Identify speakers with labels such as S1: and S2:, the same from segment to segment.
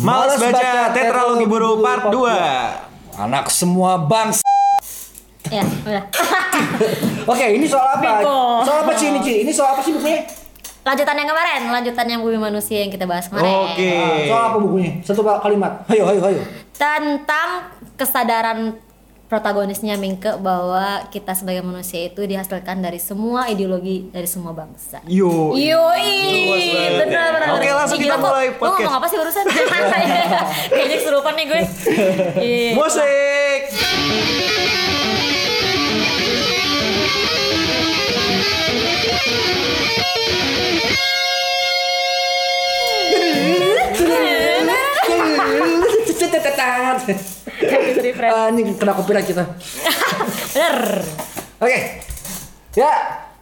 S1: Malas baca tetralogi buruk part 2.
S2: Anak semua bangsa.
S3: Ya, udah.
S2: Oke, ini soal apa?
S3: Bingung.
S2: Soal apa sih ini, Ci? Ini soal apa sih bukunya?
S3: lanjutan yang kemarin, lanjutan yang bumi manusia yang kita bahas kemarin.
S1: Oke.
S2: Ah, soal apa bukunya? Satu kalimat. Ayo, ayo, ayo.
S3: Tentang kesadaran protagonisnya Mingke bahwa kita sebagai manusia itu dihasilkan dari semua ideologi dari semua bangsa.
S1: Yo. Luas
S3: Yoi,
S1: banget ya.
S3: benar benar.
S1: Oke, langsung kita mulai
S3: Lu
S1: podcast.
S3: ngomong apa sih urusan? Kayaknya kesurupan nih gue. Iya.
S1: Musik.
S2: Ah, Ini kena copyright kita.
S3: Bener.
S2: Oke. Ya,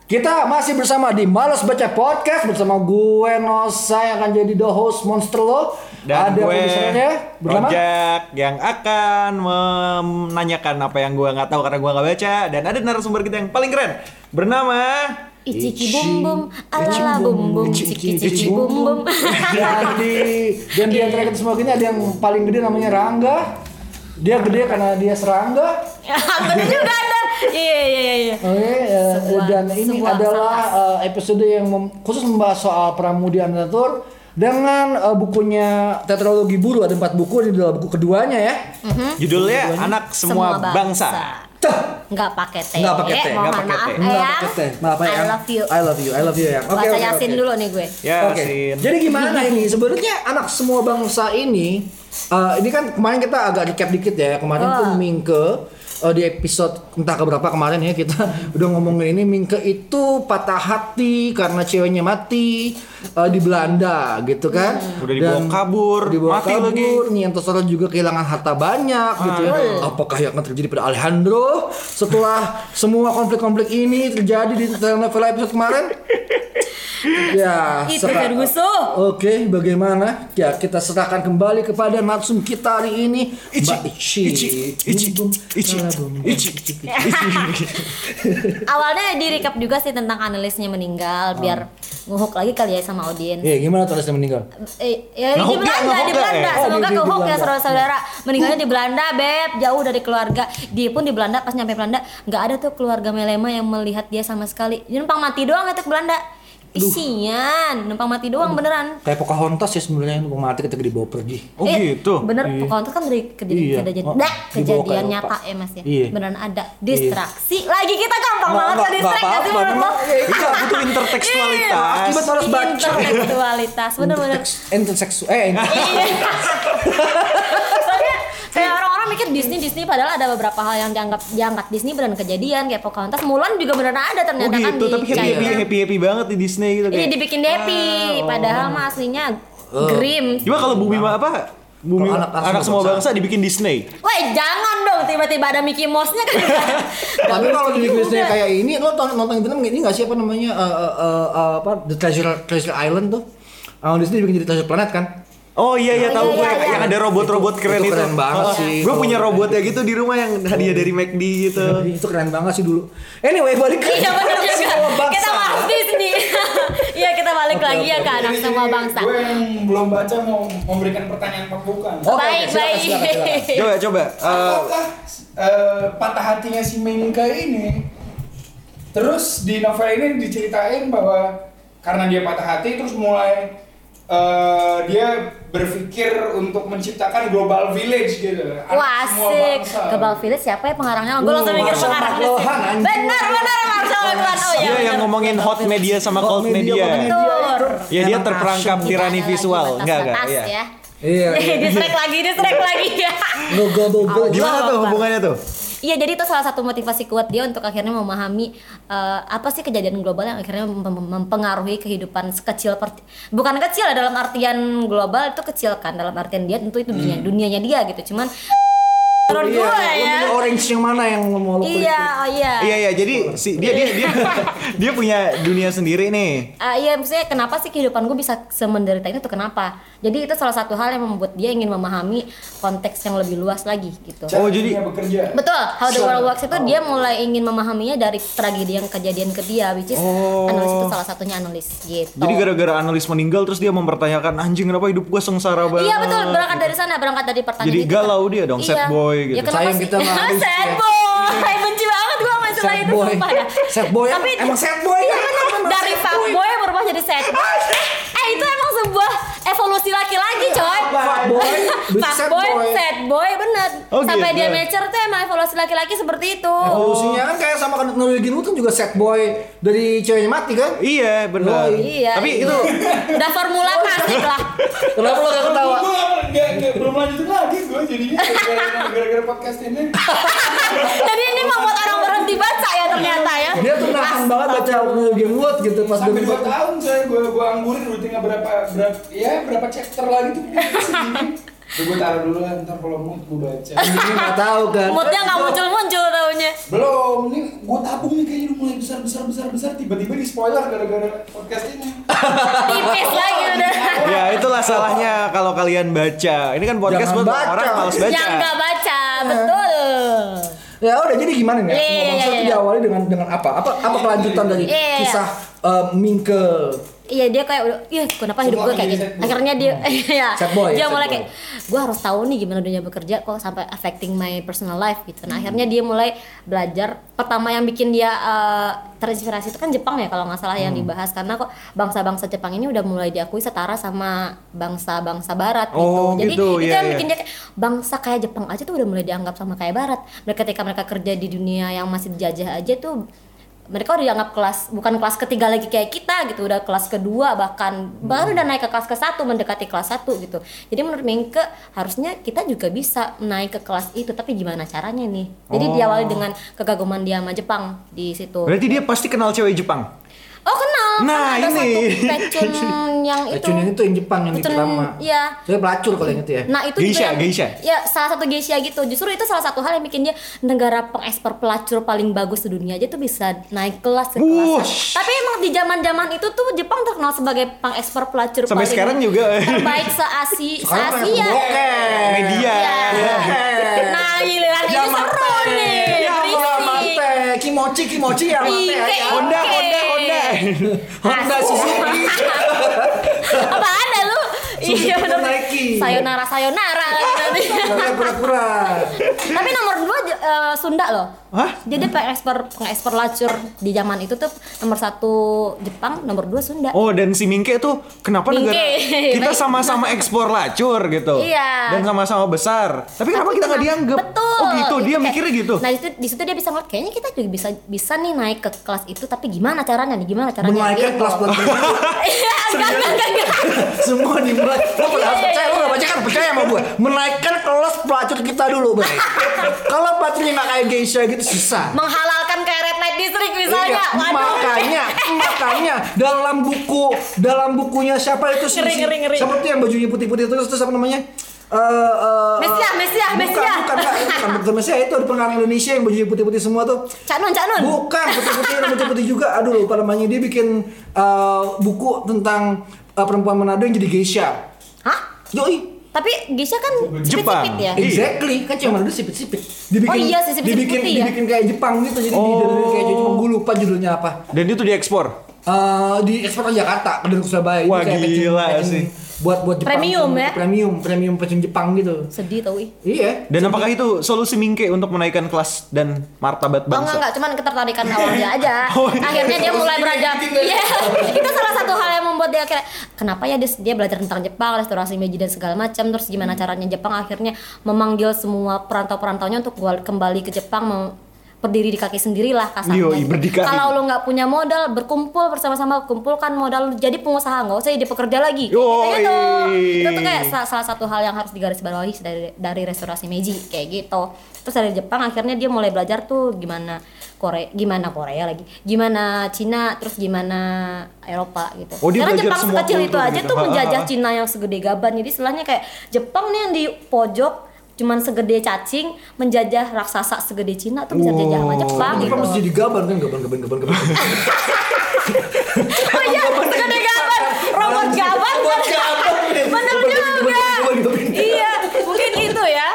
S2: kita masih bersama di Malas Baca Podcast bersama gue Nosa yang akan jadi the host monster lo.
S1: Dan
S2: Ada
S1: gue
S2: produsernya bernama
S1: Rojak yang akan menanyakan apa yang gue nggak tahu karena gue nggak baca dan ada narasumber kita yang paling keren bernama
S3: Iciki bum bum, alala bum bum, ciki ciki bum bum.
S2: Dan di dan di antara kita semua gini ada yang paling gede namanya Rangga. Dia gede karena dia serangga.
S3: Bener juga ada. Iya iya iya, iya.
S2: Oke, eh,
S3: Sebuah-
S2: dan ini
S3: sebuah
S2: adalah eh, episode yang mem- khusus membahas soal Pramudi Anandatur dengan eh, bukunya Tetralogi Buru ada empat buku ini adalah buku keduanya ya.
S3: Mm-hmm.
S1: judulnya anak Hmm? semua, bangsa.
S2: Tuh,
S3: Nggak pakai T.
S1: Nggak pakai T,
S3: Eh,
S1: nggak
S3: mohon
S1: pakai
S3: maaf,
S1: T.
S3: Eyang.
S2: Nggak pakai teh. Maaf ya.
S3: I
S2: Eyang.
S3: love you.
S2: I love you. I love you ya. Oke,
S3: Bahasa
S2: oke,
S3: Yasin
S2: oke. Iya.
S3: dulu nih gue.
S1: Ya,
S2: Oke.
S1: Sin.
S2: Jadi gimana ini? Sebenarnya anak semua bangsa ini eh, ini kan kemarin kita agak recap dikit ya. Kemarin tuh Mingke eh, di episode entah keberapa kemarin ya kita udah ngomongin ini Mingke itu patah hati karena ceweknya mati eh, di Belanda gitu kan.
S1: Hmm. Udah dibawa kabur,
S2: dibawa
S1: mati
S2: kabur,
S1: lagi.
S2: Niantosoro juga kehilangan harta banyak gitu ya. Apakah yang akan terjadi pada Alejandro setelah semua konflik-konflik ini terjadi di telenovela episode kemarin? ya,
S3: Itu
S2: seka-
S3: Ferguso.
S2: Oke, bagaimana? Ya, kita serahkan kembali kepada narsum kita hari ini, Mbak Ici.
S1: Ichi, Ichi, Ichi, Ichi, Ichi.
S3: Awalnya di recap juga sih tentang analisnya meninggal
S2: Hmm.
S3: biar nguhuk lagi kali ya sama audiens.
S2: Ya, gimana tulisnya meninggal?
S3: Eh, ya, di
S1: Ngehook ya,
S3: Belanda,
S1: ngehook
S3: di
S1: ya,
S3: Belanda.
S1: eh.
S2: Oh,
S3: Semoga
S2: di- di- di
S3: kehuk ya
S2: Belanda. Iya.
S3: saudara-saudara. Meninggalnya di Belanda, beb, jauh dari keluarga. Dia pun di Belanda pas nyampe Belanda nggak ada tuh keluarga Melema yang melihat dia sama sekali. Dia numpang mati doang itu ke Belanda. Isian, numpang mati doang beneran.
S2: Kayak Pocahontas ya sebenarnya yang mati ketika dibawa pergi.
S1: Oh
S3: Eh,
S1: gitu.
S3: Bener, Pocahontas kan dari
S2: Iya.
S3: kejadian kejadian,
S2: Oh,
S3: Dah,
S2: dibawa kayak
S3: kejadian
S2: apa.
S3: nyata ya mas ya.
S2: Iya.
S3: Beneran ada distraksi. Lagi kita gampang banget ke distraksi
S2: apa-apa,
S3: sih menurut lo?
S2: memang- iya,
S1: Iya, butuh intertekstualitas. Oh, gitu.
S2: Akibat harus baca.
S3: Intelektualitas, bener-bener.
S2: Interseksual. Eh,
S3: Iya. Soalnya kayak orang-orang mikir Disney Disney padahal ada beberapa hal yang dianggap diangkat Disney beneran kejadian kayak Pocahontas, Mulan juga beneran ada
S1: Oh
S3: ternyata kan
S1: gitu,
S3: di
S1: tapi happy happy
S3: China.
S1: happy happy banget di Disney gitu
S3: Ini
S1: kayak.
S3: dibikin happy,
S2: Oh.
S3: padahal mah aslinya grim.
S1: Coba kalau bumi Ma- apa? Bumi
S2: Kalau
S1: anak,
S2: anak- anak
S1: semua
S2: semua
S1: bangsa dibikin Disney.
S3: Woi jangan dong tiba-tiba ada Mickey Mouse-nya kan.
S2: Tapi kalau di Inggrisnya
S3: Udah.
S2: kayak ini, lo nonton, nonton film ini nggak sih apa namanya eh, eh, eh, eh, apa The Treasure Treasure Island tuh? Disini di sini bikin jadi Treasure Planet kan?
S1: Oh iya iya tahu
S3: iya,
S1: gue
S3: iya.
S1: yang ada robot-robot
S2: Itu-
S1: keren itu.
S2: itu keren banget
S1: Ah,
S2: sih.
S1: Gue punya robotnya gitu di rumah yang hadiah dari McD gitu.
S2: Jadi Iya, itu keren banget sih dulu. Anyway balik ke
S3: Iya benar juga.
S2: Semua bangsa.
S3: Kita bahas Disney. Iya kita balik lagi ya ke anak
S4: Jadi-
S3: semua
S4: jadi
S3: bangsa.
S4: Gue yang belum baca mau memberikan pertanyaan pembukaan.
S2: Oke,
S3: Baik
S2: silakan,
S3: baik.
S2: silakan,
S1: Coba
S2: silakan.
S1: coba. eh,
S4: Apakah eh, patah hatinya si Menka ini? Terus di novel ini diceritain bahwa karena dia patah hati terus mulai eh, dia berpikir untuk menciptakan global village gitu. Anak
S3: Wah
S4: semua
S3: asik.
S4: bangsa.
S3: Kebal Phillips siapa ya pengarangnya? Gue langsung mikir
S2: Marshall
S3: pengarang. ya.
S2: McLuhan, anjing.
S3: Benar benar Marshall McLuhan. Oh iya.
S1: dia yang
S3: benar.
S1: ngomongin hot media sama cold media.
S2: itu
S1: Ya dia
S2: emang
S1: terperangkap
S2: passion.
S3: Tidak ada
S1: tirani
S3: lagi
S1: visual. Enggak enggak.
S3: batas-batas
S1: Iya.
S3: ya.
S2: Iya. iya.
S3: distrek lagi, distrek lagi ya.
S2: Go go go go.
S3: Gila.
S1: Gimana tuh hubungannya tuh?
S3: Iya, jadi itu salah satu motivasi kuat dia untuk akhirnya memahami eh, apa sih kejadian global yang akhirnya mem- mem- mempengaruhi kehidupan sekecil per- bukan kecil ya, dalam artian global itu kecil kan dalam artian dia tentu itu dunia dunianya dia gitu. Cuman
S2: Iya,
S3: Menurut gue
S2: lu
S3: ya.
S2: pilih orange yang mana yang mau lo kulik?
S3: Iya, oh iya.
S1: Iya iya, jadi si dia dia dia dia punya dunia sendiri nih.
S3: Ah, iya maksudnya kenapa sih kehidupan gue bisa semenderita itu kenapa? Jadi itu salah satu hal yang membuat dia ingin memahami konteks yang lebih luas lagi gitu.
S4: Cara
S1: Oh, jadi-
S4: dunia bekerja.
S3: Betul, How the World Works itu
S1: Oh.
S3: dia mulai ingin memahaminya dari tragedi yang kejadian ke dia, which is analis itu salah satunya analis gitu.
S1: Oh. Jadi gara-gara analis meninggal terus dia mempertanyakan anjing kenapa hidup gua sengsara banget.
S3: Iya betul, berangkat dari sana, berangkat dari pertanyaan
S1: gitu. Jadi
S3: itu. kan.
S1: galau dia dong, sad boy gitu.
S3: Ya, kenapa
S2: Sayang
S3: sih?
S2: kita ya. nggak ada
S3: sad
S2: istri.
S3: boy, benci banget gue sama istilah
S2: Sad
S3: itu
S2: boy.
S3: sumpah dah.
S2: Sad boy,
S3: Tapi
S2: emang sad boy
S3: Iya
S2: kan?
S3: benar,
S2: Emang
S3: dari
S2: sad
S3: fuck
S2: boy.
S3: boy berubah jadi sad boy. eh itu emang sebuah evolusi laki-laki coy.
S2: Fuck boy, jadi
S3: Fuck
S2: sad
S3: boy,
S2: boy.
S3: sad boy bener.
S1: Oh,
S3: Sampai
S1: gitu. Oh,
S3: dia mature tuh emang evolusi laki-laki seperti itu.
S2: Evolusinya kan kayak sama kan Norwegian Wood kan juga sad boy dari ceweknya mati kan?
S1: Iya benar.
S2: Oh,
S3: Iya.
S1: Tapi
S3: iya.
S1: itu
S3: udah formula klasik lah.
S2: Kenapa lo gak ketawa?
S4: Gue belum lanjutin lagi gue jadinya gara-gara- gara-gara podcast ini.
S3: Jadi ini membuat orang berhenti baca ya ternyata ya.
S2: Dia tuh nahan banget baca Norwegian Wood gitu pas
S4: Sampai
S2: dia-
S4: dua tahun saya gue gue anggurin rutinnya berapa berapa ya berapa chapter lagi tuh. Gue taruh dulu lah ntar kalau mood gue baca.
S2: Ini nggak tahu kan?
S3: Moodnya nggak muncul-muncul taunya.
S4: Belum, nih gue tabung nih kayaknya udah mulai besar besar besar besar tiba-tiba di spoiler gara-gara podcast ini.
S3: Tipis lagi udah.
S1: ya itulah salahnya kalau kalian baca. Ini kan podcast
S2: Jangan
S1: buat
S2: baca.
S1: orang malas baca.
S3: Yang nggak baca, betul.
S2: Ya udah jadi gimana nih?
S3: Iya, iya,
S2: Semua bangsa
S3: iya,
S2: itu
S3: iya.
S2: diawali dengan dengan apa? Apa apa kelanjutan dari
S3: Iya, iya.
S2: kisah eh, Mingke?
S3: Iya dia kayak udah, ya kenapa hidup
S4: Semua
S3: gue kayak
S4: jadi
S3: gitu.
S4: sad boy.
S3: Akhirnya dia, ya,
S2: Sad boy,
S3: dia
S2: sad
S3: mulai
S2: boy.
S3: kayak, gue harus tahu nih gimana dunia bekerja kok sampai affecting my personal life gitu. Nah akhirnya dia mulai belajar. Pertama yang bikin dia eh, terinspirasi itu kan Jepang ya kalau nggak salah yang dibahas karena kok bangsa-bangsa Jepang ini udah mulai diakui setara sama bangsa-bangsa Barat gitu.
S1: Oh,
S3: Jadi
S1: gitu,
S3: itu
S1: iya,
S3: yang
S1: iya.
S3: bikin dia Ya, kayak, bangsa kayak Jepang aja tuh udah mulai dianggap sama kayak Barat. Mereka ketika mereka kerja di dunia yang masih dijajah aja tuh mereka udah dianggap kelas bukan kelas ketiga lagi kayak kita gitu udah kelas kedua bahkan baru udah naik ke kelas ke satu mendekati kelas satu gitu jadi menurut Mingke harusnya kita juga bisa naik ke kelas itu tapi gimana caranya nih jadi
S1: Oh.
S3: diawali dengan kekaguman dia sama Jepang di situ
S1: Berarti dia pasti kenal cewek Jepang.
S3: oh kenal
S1: Nah,
S3: Karena ada
S1: ini.
S3: satu pecun yang itu
S2: Racun Eh, itu yang Jepang yang di
S3: Pecun-
S2: pertama.
S3: iya
S2: Dia pelacur kalau yang itu ya.
S3: Nah itu
S1: Geisha,
S3: juga yang,
S1: geisha.
S3: Ya salah satu geisha gitu. Justru itu salah satu hal yang bikin dia negara pengekspor pelacur paling bagus di dunia aja tuh bisa naik kelas ke kelas.
S1: Wush.
S3: Tapi emang di zaman zaman itu tuh Jepang terkenal sebagai pengekspor pelacur
S1: Sampai
S3: paling
S1: sekarang juga.
S3: terbaik se Asia. Se
S2: Sekarang kan banyak
S3: Asia.
S2: bokeh.
S1: Media.
S3: Iya. Nah giliran ini seru nih.
S1: Ya
S3: berisik.
S2: Yamate, Iya, Kimochi, Kimochi, Yamate.
S3: Ike,
S2: ya.
S1: Honda,
S3: Oke.
S1: Honda, Honda.
S2: Honda,
S3: Asu.
S2: Suzuki.
S3: Iya. Apa ada lu?
S2: Suzuki
S3: Iya bener.
S2: Nike.
S3: Sayonara sayonara lagi nanti.
S2: Saya pura-pura.
S3: Tapi nomor dua j- eh, Sunda loh.
S1: Hah?
S3: Jadi pengekspor pengekspor lacur di zaman itu tuh nomor satu Jepang, nomor dua Sunda.
S1: Oh dan si Mingke tuh kenapa
S3: Mingke.
S1: negara kita
S3: Baik.
S1: sama-sama ekspor lacur gitu.
S3: Iya.
S1: Dan sama-sama besar. Tapi kenapa
S3: Tapi
S1: kita nggak
S3: kenapa-
S1: dianggap?
S3: Betul.
S1: Oh gitu
S3: Itu
S1: dia
S3: kayak-
S1: mikirnya gitu.
S3: Nah itu di situ dia bisa ngeliat kayaknya kita juga bisa bisa nih naik ke kelas itu tapi gimana caranya nih? Gimana caranya?
S2: Menaikkan
S3: Gitu.
S2: kelas buat
S3: Iya, enggak enggak enggak, enggak.
S2: semua dimulai. Lo
S3: Iya,
S2: pada
S3: iya,
S2: percaya, lo
S3: iya.
S2: gak percaya kan percaya sama gue. Menaikkan kelas pelacur kita dulu, Bang. Kalau pelacurnya nggak kayak geisha gitu susah.
S3: Menghalalkan kayak red light district misalnya.
S2: Iya, makanya, makanya dalam buku dalam bukunya siapa itu
S3: Ngeri, ngeri, ngeri.
S2: siapa tuh yang bajunya putih-putih terus terus apa namanya? Eh eh,
S3: Mesiah,
S2: eh,
S3: Mesiah,
S2: bukan,
S3: Mesiah.
S2: Bukan, bukan, bukan, bukan Mesiah itu ada pengarang Indonesia yang bajunya putih-putih semua tuh.
S3: Cak Nun, Cak Nun.
S2: Bukan putih-putih, ada putih-putih juga. Aduh, lupa namanya dia bikin eh, buku tentang eh, perempuan Manado yang jadi geisha.
S3: Hah?
S2: Yoi,
S3: Tapi Gisha kan
S1: Jepang.
S3: sipit-sipit ya.
S1: Iya.
S2: Exactly, kan cuma udah sipit-sipit. Dibikin,
S3: Oh iya sih, sipit-sipit
S2: dibikin,
S3: putih ya?
S2: dibikin kayak Jepang gitu, jadi di
S1: Oh.
S2: kayak Jepang. Gue lupa judulnya apa.
S1: Dan itu diekspor.
S2: Eh di ekspor ke Jakarta, ke Denpasar Surabaya. Itu
S1: Wah,
S2: kayak
S1: gila
S2: pecin-
S1: sih.
S2: Buat buat Jepang.
S3: Premium
S2: tuh,
S3: ya?
S2: Premium, premium pecin Jepang gitu.
S3: Sedih tau ih.
S2: Iya.
S1: Dan apakah itu solusi Mingke untuk menaikkan kelas dan martabat
S3: Oh enggak,
S1: bangsa?
S3: enggak, cuman ketertarikan awalnya aja. Akhirnya dia mulai belajar. Iya, itu salah satu hal yang membuat dia akhirnya kenapa ya dia, dia belajar tentang Jepang, restorasi Meiji dan segala macam. Terus gimana caranya Jepang akhirnya memanggil semua perantau-perantaunya untuk gua- kembali ke Jepang mau berdiri di kaki sendirilah kasarnya.
S1: Yoi, berdikari.
S3: Kalau lo nggak punya modal, berkumpul bersama-sama kumpulkan modal, lu jadi pengusaha nggak usah jadi pekerja lagi. Kayak
S1: Yoi.
S3: gitu. Itu tuh kayak sa- salah satu hal yang harus digarisbawahi dari dari restorasi Meiji kayak gitu. Terus dari Jepang akhirnya dia mulai belajar tuh gimana Korea, gimana Korea lagi, gimana Cina, terus gimana Eropa gitu.
S1: Oh, dia
S3: Karena
S1: belajar
S3: Jepang
S1: semua
S3: sekecil itu
S1: kultur
S3: aja
S1: gitu.
S3: tuh
S1: Ha, ha,
S3: menjajah
S1: ha.
S3: Cina yang segede gaban. Jadi istilahnya kayak Jepang nih yang di pojok cuman segede cacing menjajah raksasa segede Cina tuh bisa jajah
S1: Oh,
S3: sama
S1: iya.
S3: Jepang
S2: Ini
S3: gitu.
S2: kan mesti digaban kan gaban gaban gaban gaban.
S3: Oh iya, segede gaban, robot gaban.
S2: Robot gaban.
S3: Bener
S2: Gaban, gaban,
S3: juga.
S2: gaban, gaban, gaban.
S3: Iya, mungkin itu ya.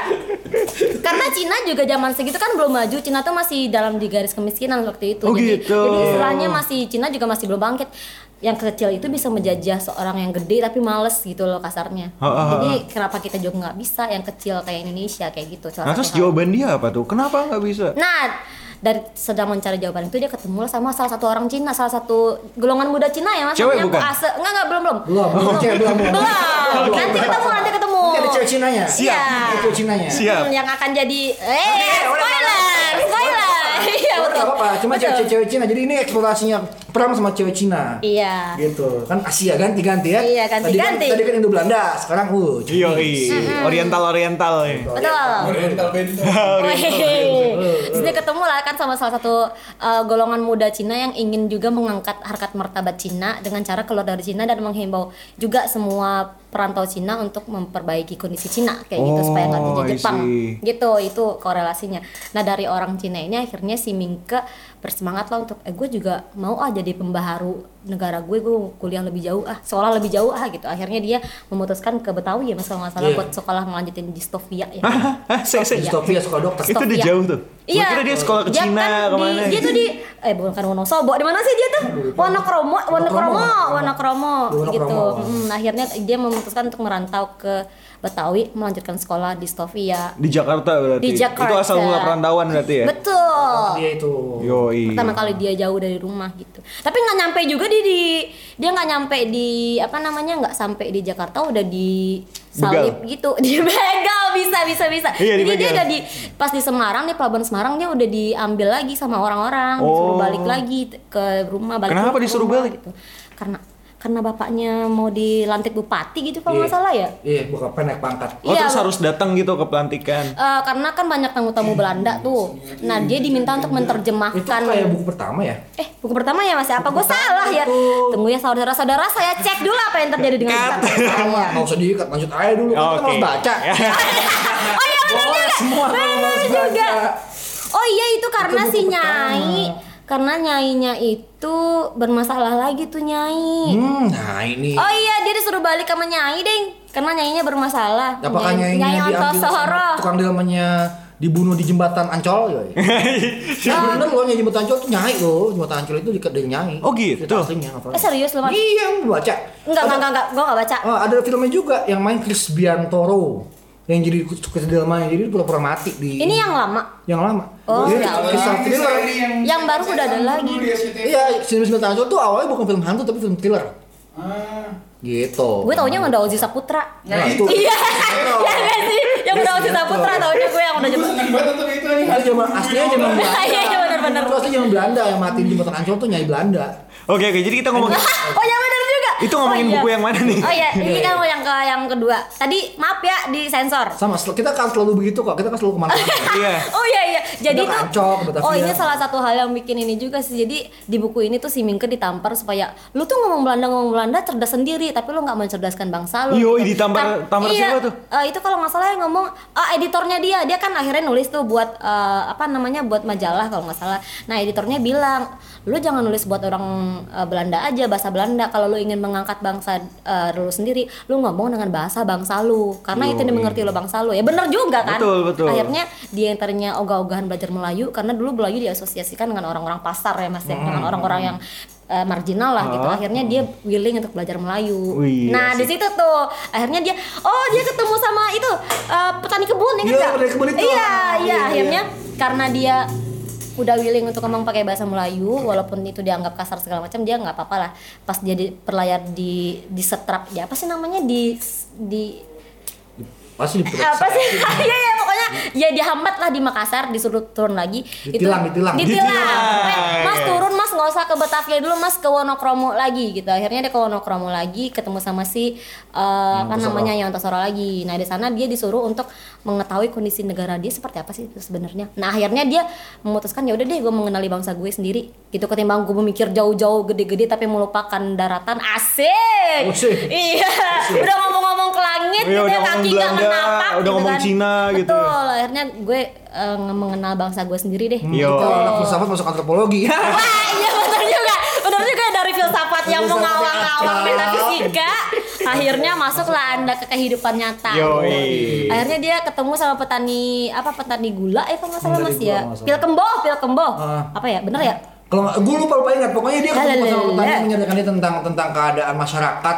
S3: Karena Cina juga zaman segitu kan belum maju, Cina tuh masih dalam di garis kemiskinan waktu itu.
S1: Oh,
S3: jadi,
S1: gitu.
S3: jadi istilahnya masih Cina juga masih belum bangkit. Yang kecil itu bisa menjajah seorang yang gede tapi males gitu loh kasarnya.
S1: Ha, ha, ha.
S3: Jadi kenapa kita juga nggak bisa yang kecil kayak Indonesia kayak gitu. salah
S1: Nah terus
S3: satu hal.
S1: jawaban dia apa tuh? Kenapa nggak bisa?
S3: Nah, dari sedang mencari jawaban itu dia ketemu sama salah satu orang Cina, salah satu golongan muda Cina ya mas.
S1: Cewek
S3: Namanya
S1: bukan?
S3: Ase. Enggak, enggak, belum, belum.
S2: Belum, belum, cewek Oh, belum.
S3: Belum. Nanti ketemu, nanti ketemu. Iya.
S2: Ini ada cewek Cinanya.
S3: Siap.
S2: Ada cewek Cinanya.
S1: Siap.
S3: Hmm, yang akan jadi eh spoiler, spoiler. Iya
S2: Oh,
S3: betul.
S2: nggak apa-apa, cuma
S3: Betul.
S2: cewek-cewek Cina. Jadi ini eksplorasinya perang sama cewek Cina.
S3: Iya.
S2: Gitu. Kan Asia ganti-ganti ya.
S3: Iya,
S2: Tadi kan,
S3: ganti-ganti.
S2: tadi kan Indo Belanda, sekarang uh. Cina.
S1: Yoi, oriental oriental Iya, ya.
S3: Betul.
S4: Oriental bento.
S3: Wih. Terus dia ketemu lah kan sama salah satu uh, golongan muda Cina yang ingin juga mengangkat harkat martabat Cina dengan cara keluar dari Cina dan menghimbau juga semua perantau Cina untuk memperbaiki kondisi Cina kayak gitu supaya nggak
S1: Oh,
S3: dijajah
S1: I
S3: Jepang
S1: see.
S3: gitu itu korelasinya. Nah dari orang Cina ini akhirnya si Mingke bersemangat lah untuk eh gue juga mau ah jadi pembaharu negara gue gue kuliah lebih jauh ah sekolah lebih jauh ah gitu akhirnya dia memutuskan ke Betawi ya mas kalau nggak salah
S2: Iya.
S3: buat sekolah melanjutin di Stovia ya
S1: Hah, saya saya
S3: Iya.
S2: Distopia suka dokter.
S1: itu dia
S3: Sofia. Iya.
S1: jauh tuh. Gua kira dia sekolah ke
S3: Dia
S1: Cina
S3: kan di-
S1: kemana? gitu.
S3: Dia tuh di eh bukan kan Wonosobo. Di mana sih dia tuh? Wonokromo, Wonokromo, Wonokromo
S2: Wonokromo.
S3: gitu. Mm, nah, akhirnya dia memutuskan untuk merantau ke Betawi melanjutkan sekolah di Stovia.
S1: Di Jakarta berarti.
S3: Di Jakarta.
S1: Itu asal mula perantauan berarti ya.
S3: Betul.
S2: Dia Iya, itu.
S1: Yoi.
S3: Pertama kali dia jauh dari rumah gitu. Tapi nggak nyampe juga dia di dia nggak nyampe di apa namanya nggak sampai di Jakarta udah di salib gitu. Di begal bisa bisa bisa.
S1: Iya,
S3: Jadi dia
S1: dibegal.
S3: udah di pas di Semarang di pelabuhan Semarang dia udah diambil lagi sama orang-orang, disuruh
S1: Oh.
S3: balik lagi t- ke rumah balik.
S1: Kenapa
S3: lagi ke
S1: disuruh
S3: rumah,
S1: balik?
S3: Gitu. Karena karena bapaknya mau dilantik bupati gitu kalau nggak
S2: Iya.
S3: salah ya.
S2: Iya, bukan penek pangkat.
S1: Oh
S3: Iya,
S1: terus
S3: Bang.
S1: harus datang gitu ke pelantikan.
S3: Eh, karena kan banyak tamu-tamu Belanda tuh. Nah, dia diminta untuk
S1: Iya.
S3: menerjemahkan
S2: Itu kayak buku pertama ya.
S3: Eh, buku pertama ya Mas? ya? Apa gue salah ya? Tunggu ya saudara-saudara, saya cek dulu apa yang terjadi dengan
S1: Cut.
S3: kita.
S2: Pertama, nggak usah diikat, lanjut aja dulu.
S3: Iya,
S2: Kan Kita
S1: Oke. Ya.
S2: harus baca.
S3: Oh iya benar
S2: Boleh
S3: juga.
S2: semua
S3: Benar
S2: harus
S3: juga.
S2: baca.
S3: Oh iya itu karena
S2: buku
S3: si
S2: pertama.
S3: Nyai karena nyainya itu bermasalah lagi tuh Nyai.
S2: Hmm, nah ini.
S3: Oh iya dia disuruh balik sama Nyai, Ding. Karena nyainya bermasalah.
S2: Apakah
S3: Nyai, nyai
S2: nyanyinya diambil sama
S3: Ontosoro.
S2: tukang delmannya dibunuh di jembatan Ancol ya? Ya bener loh, nyai jembatan Ancol tuh nyai loh, jembatan Ancol itu diket dari nyai.
S1: Oh, gitu.
S2: Cerita aslinya apa?
S3: Eh serius lu, Mas?
S2: Iya, gue baca.
S3: Enggak, enggak, enggak, enggak, gua enggak baca.
S2: Oh, ada filmnya juga yang main Chris Biantoro yang jadi tukang delmannya jadi dia pura-pura mati di
S3: Ini yang lama.
S2: yang lama.
S3: Oh,
S2: Jadi
S3: ya
S4: Nah,
S3: Allah.
S2: kisah thriller.
S3: Yang baru udah ada lagi.
S4: Iya.
S2: Iya, Sinus Jembatan Ancol tuh awalnya bukan film hantu tapi film thriller.
S4: Ah.
S2: Gitu.
S3: Gue taunya sama Ozi Saputra.
S2: Nah, itu. Iya
S3: Iya, ya nggak sih? Yang udah Ozi Saputra taunya gue yang udah
S4: Gue
S3: jemput.
S4: seneng banget nonton itu anjing.
S2: Itu zaman aslinya zaman Belanda.
S3: Iya, iya, benar-benar.
S2: Itu aslinya zaman Belanda yang mati di jembatan Ancol tuh nyai Belanda.
S1: Oke oke jadi kita ngomongin
S3: oh ya benar juga.
S1: Itu ngomongin
S3: Oh, iya.
S1: buku yang mana nih?
S3: Oh iya, ini kan yang ke yang kedua. Tadi maaf ya di sensor.
S2: sama sel- kita kan selalu begitu kok kita kan selalu kemana-mana
S1: Iya.
S3: Oh iya iya. Jadi
S2: Udah
S3: tuh
S2: kancok, Batavia.
S3: Oh, ini salah satu hal yang bikin ini juga sih. Jadi di buku ini tuh si Mingke ditampar supaya lu tuh ngomong Belanda ngomong Belanda cerdas sendiri, tapi lu nggak mencerdaskan bangsa lu.
S1: Yoi, ditampar- tampar
S3: iya,
S1: siapa tuh?
S3: eh, itu kalau nggak salah yang ngomong ah, editornya dia. Dia kan akhirnya nulis tuh buat eh, apa namanya? buat majalah kalau nggak salah. Nah, editornya bilang, "Lu jangan nulis buat orang eh, Belanda aja, bahasa Belanda. Kalau lu ingin mengangkat bangsa eh, lu sendiri, lu ngomong dengan bahasa bangsa lu karena itu yang dimengerti lo bangsa lu." Ya bener juga kan?
S1: Betul, betul.
S3: Akhirnya akhirnya dia yang tadinya ogah-ogahan belajar Melayu karena dulu Melayu diasosiasikan dengan orang-orang pasar ya mas ya
S2: Hmm.
S3: dengan orang-orang yang eh, marginal lah
S2: Oh.
S3: gitu akhirnya dia willing untuk belajar Melayu
S1: Wih,
S3: nah
S2: iya
S3: di
S1: asik.
S3: situ tuh akhirnya dia oh dia ketemu sama itu eh, petani kebun ya kan
S2: Iya,
S3: Kak?
S2: petani kebun itu.
S3: iya
S2: Iya,
S3: iya
S2: iya.
S3: akhirnya karena dia udah willing untuk ngomong pakai bahasa Melayu walaupun itu dianggap kasar segala macam dia nggak apa-apa lah pas dia di, perlayar di di setrap ya apa sih namanya di di
S2: pasti diperiksa
S3: apa sih iya ya pokoknya ya dihambat lah di Makassar disuruh turun lagi
S2: Ditilang, ditilang.
S3: ditilang
S1: Ditilang.
S3: Eh, mas turun mas nggak usah ke Batavia dulu mas ke Wonokromo lagi gitu akhirnya dia ke Wonokromo lagi ketemu sama si eh apa
S2: Yontasoro.
S3: namanya Yontosoro lagi nah di sana dia disuruh untuk mengetahui kondisi negara dia seperti apa sih itu sebenarnya nah akhirnya dia memutuskan ya udah deh gue mengenali bangsa gue sendiri gitu ketimbang gue memikir jauh-jauh gede-gede tapi melupakan daratan asik
S2: Asik.
S3: iya udah ngomong-ngomong ke langit kulit
S1: Iya, udah ngomong Belanda,
S3: gitu ya, kaki nggak menapak kan.
S1: udah ngomong Cina gitu ya.
S3: Betul, akhirnya gue eh, nge- mengenal bangsa gue sendiri deh.
S1: Yo.
S2: Kalau Oh, anak filsafat masuk antropologi.
S3: Wah, iya benar juga. Benar juga ya, dari filsafat yang
S2: Filsafat
S3: mengawang-awang
S2: yang akal.
S3: metafisika. Akhirnya masuklah Anda ke kehidupan nyata.
S1: Yoi.
S3: Nah. Akhirnya dia ketemu sama petani apa petani gula eh kalau nggak salah
S2: Petani
S3: Mas
S2: gula,
S3: ya.
S2: nggak salah.
S3: Pil kemboh, pil kemboh.
S2: Ah.
S3: Apa ya? Bener ya?
S2: Kalau nggak- gue lupa lupa ingat, pokoknya dia ketemu sama
S3: Lalalala.
S2: petani yang menyadarkan dia tentang tentang keadaan masyarakat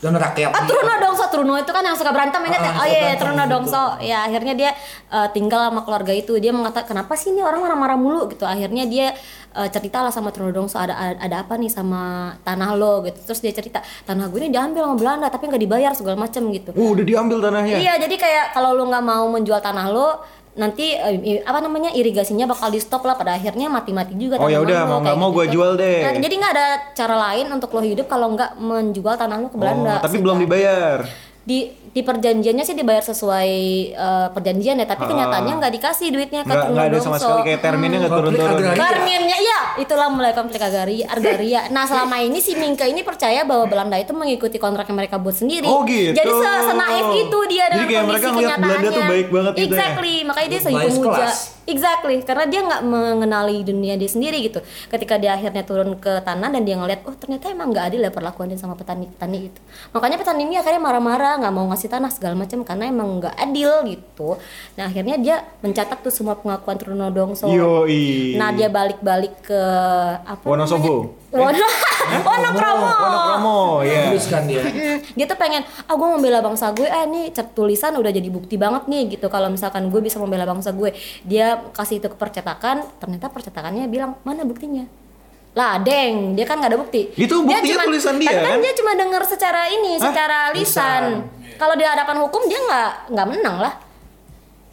S2: dan rakyat.
S3: Ah Truno Dongso, Truno itu kan yang suka berantem ingat ya?
S2: Ah,
S3: Oh
S2: suka
S3: iya,
S2: berantem,
S3: Truno
S2: betul.
S3: Dongso. Ya akhirnya dia eh, tinggal sama keluarga itu. Dia mengatakan kenapa sih ini orang marah-marah mulu gitu. Akhirnya dia eh, cerita lah sama Truno Dongso ada ada ada apa nih sama tanah lo gitu. Terus dia cerita tanah gue ini diambil sama Belanda tapi nggak dibayar segala macem gitu.
S1: Uh, udah diambil tanahnya.
S3: Iya, jadi kayak kalau lu nggak mau menjual tanah lo nanti eh, i- apa namanya irigasinya bakal di stop lah pada akhirnya mati-mati juga
S1: Oh,
S3: tanaman
S1: yaudah,
S3: lo,
S1: mau nggak
S3: kayak
S1: mau gua jual deh.
S3: Nah, jadi nggak ada cara lain untuk lo hidup kalau nggak menjual tanah lo ke
S1: Oh,
S3: Belanda. gitu. Iya,
S1: tapi belum
S3: Sehingga-
S1: dibayar.
S3: di di perjanjiannya sih dibayar sesuai eh, perjanjian ya tapi kenyataannya nggak dikasih duitnya ke
S1: Nggak nggak ada
S3: Truno
S1: sama
S3: Dongso.
S1: sekali kayak terminnya nggak
S3: Hmm.
S2: Konflik
S1: turun-turun.
S2: agraria.
S3: Karminnya iya, itulah mulai konflik agaria, argaria. Nah selama ini si Minka ini percaya bahwa Belanda itu mengikuti kontrak yang mereka buat sendiri.
S1: Oh, gitu.
S3: Jadi se- senaif itu dia
S1: Jadi
S3: dengan
S1: kayak mereka
S3: kondisi
S1: ngeliat Belanda
S3: kenyataannya.
S1: tuh baik banget gitu ya.
S3: exactly. Makanya dia
S2: Bias
S3: segi pemuja.
S2: kelas.
S3: Exactly, karena dia nggak mengenali dunia dia sendiri gitu. Ketika dia akhirnya turun ke tanah dan dia ngeliat, oh ternyata emang nggak adil ya perlakuan dia sama petani-petani itu. Makanya petani ini akhirnya marah-marah, nggak mau ngasih tanah segala macam karena emang nggak adil gitu. Nah akhirnya dia mencatat tuh semua pengakuan Truno Dongso.
S1: Yoi.
S3: Nah dia balik-balik ke apa?
S1: Iya. Wonosobo. Eh?
S3: namanya? Wono Oh, Wonokromo.
S1: Wonokromo, ya.
S2: Tuliskan dia.
S3: Mm, Dia tuh pengen, ah gue membela bangsa gue, ah ini cat tulisan udah jadi bukti banget nih gitu. Kalau misalkan gue bisa membela bangsa gue, dia kasih itu ke percetakan, ternyata percetakannya bilang mana buktinya? Lah, deng, dia kan nggak ada bukti.
S1: Itu
S3: Dia
S1: buktinya
S3: cuman-
S1: tulisan dia,
S3: Tapi kan
S1: kan?
S3: dia cuma denger secara ini,
S1: Hah?
S3: secara lisan. Kalau di hadapan hukum dia nggak nggak menang lah.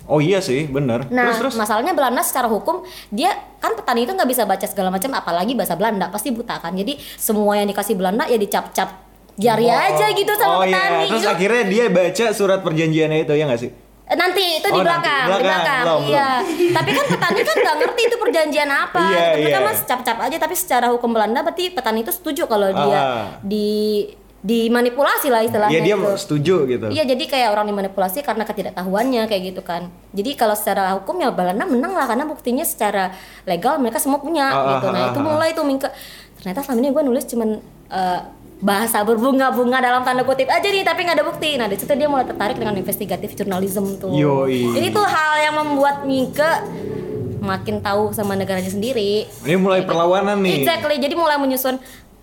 S1: Oh iya sih, bener.
S3: Nah,
S1: terus terus.
S3: masalahnya Belanda secara hukum dia kan petani itu nggak bisa baca segala macam, apalagi bahasa Belanda pasti buta kan. Jadi semua yang dikasih Belanda ya dicap-cap jari aja gitu
S1: oh
S3: sama
S1: iya,
S3: petani.
S1: terus
S3: Itu-
S1: akhirnya dia baca surat perjanjiannya itu ya nggak sih?
S3: eh, nanti itu
S1: Oh,
S3: di
S1: nanti,
S3: belakang, di
S1: belakang.
S3: belakang,
S1: Belum,
S3: iya. Tapi kan petani kan nggak ngerti itu perjanjian apa.
S1: Iya,
S3: Gitu. Mereka
S1: iya.
S3: mas cap-cap aja. Tapi secara hukum Belanda berarti petani itu setuju kalau dia
S1: Ah.
S3: di dimanipulasi lah istilahnya.
S1: Iya dia
S3: gitu.
S1: setuju gitu.
S3: Iya jadi kayak orang dimanipulasi karena ketidaktahuannya kayak gitu kan. Jadi kalau secara hukum ya Belanda menang lah karena buktinya secara legal mereka semua punya
S1: Ah,
S3: gitu.
S1: ah,
S3: Nah
S1: ah,
S3: itu
S1: ah.
S3: mulai tuh Mingke ternyata selama ini gue nulis cuman eh, bahasa berbunga-bunga dalam tanda kutip aja nih tapi nggak ada bukti. Nah di situ dia mulai tertarik dengan investigatif journalism tuh.
S1: Yoi.
S3: Ini tuh hal yang membuat Mingke makin tahu sama negaranya sendiri.
S1: Ini mulai perlawanan nih.
S3: Exactly. Jadi mulai menyusun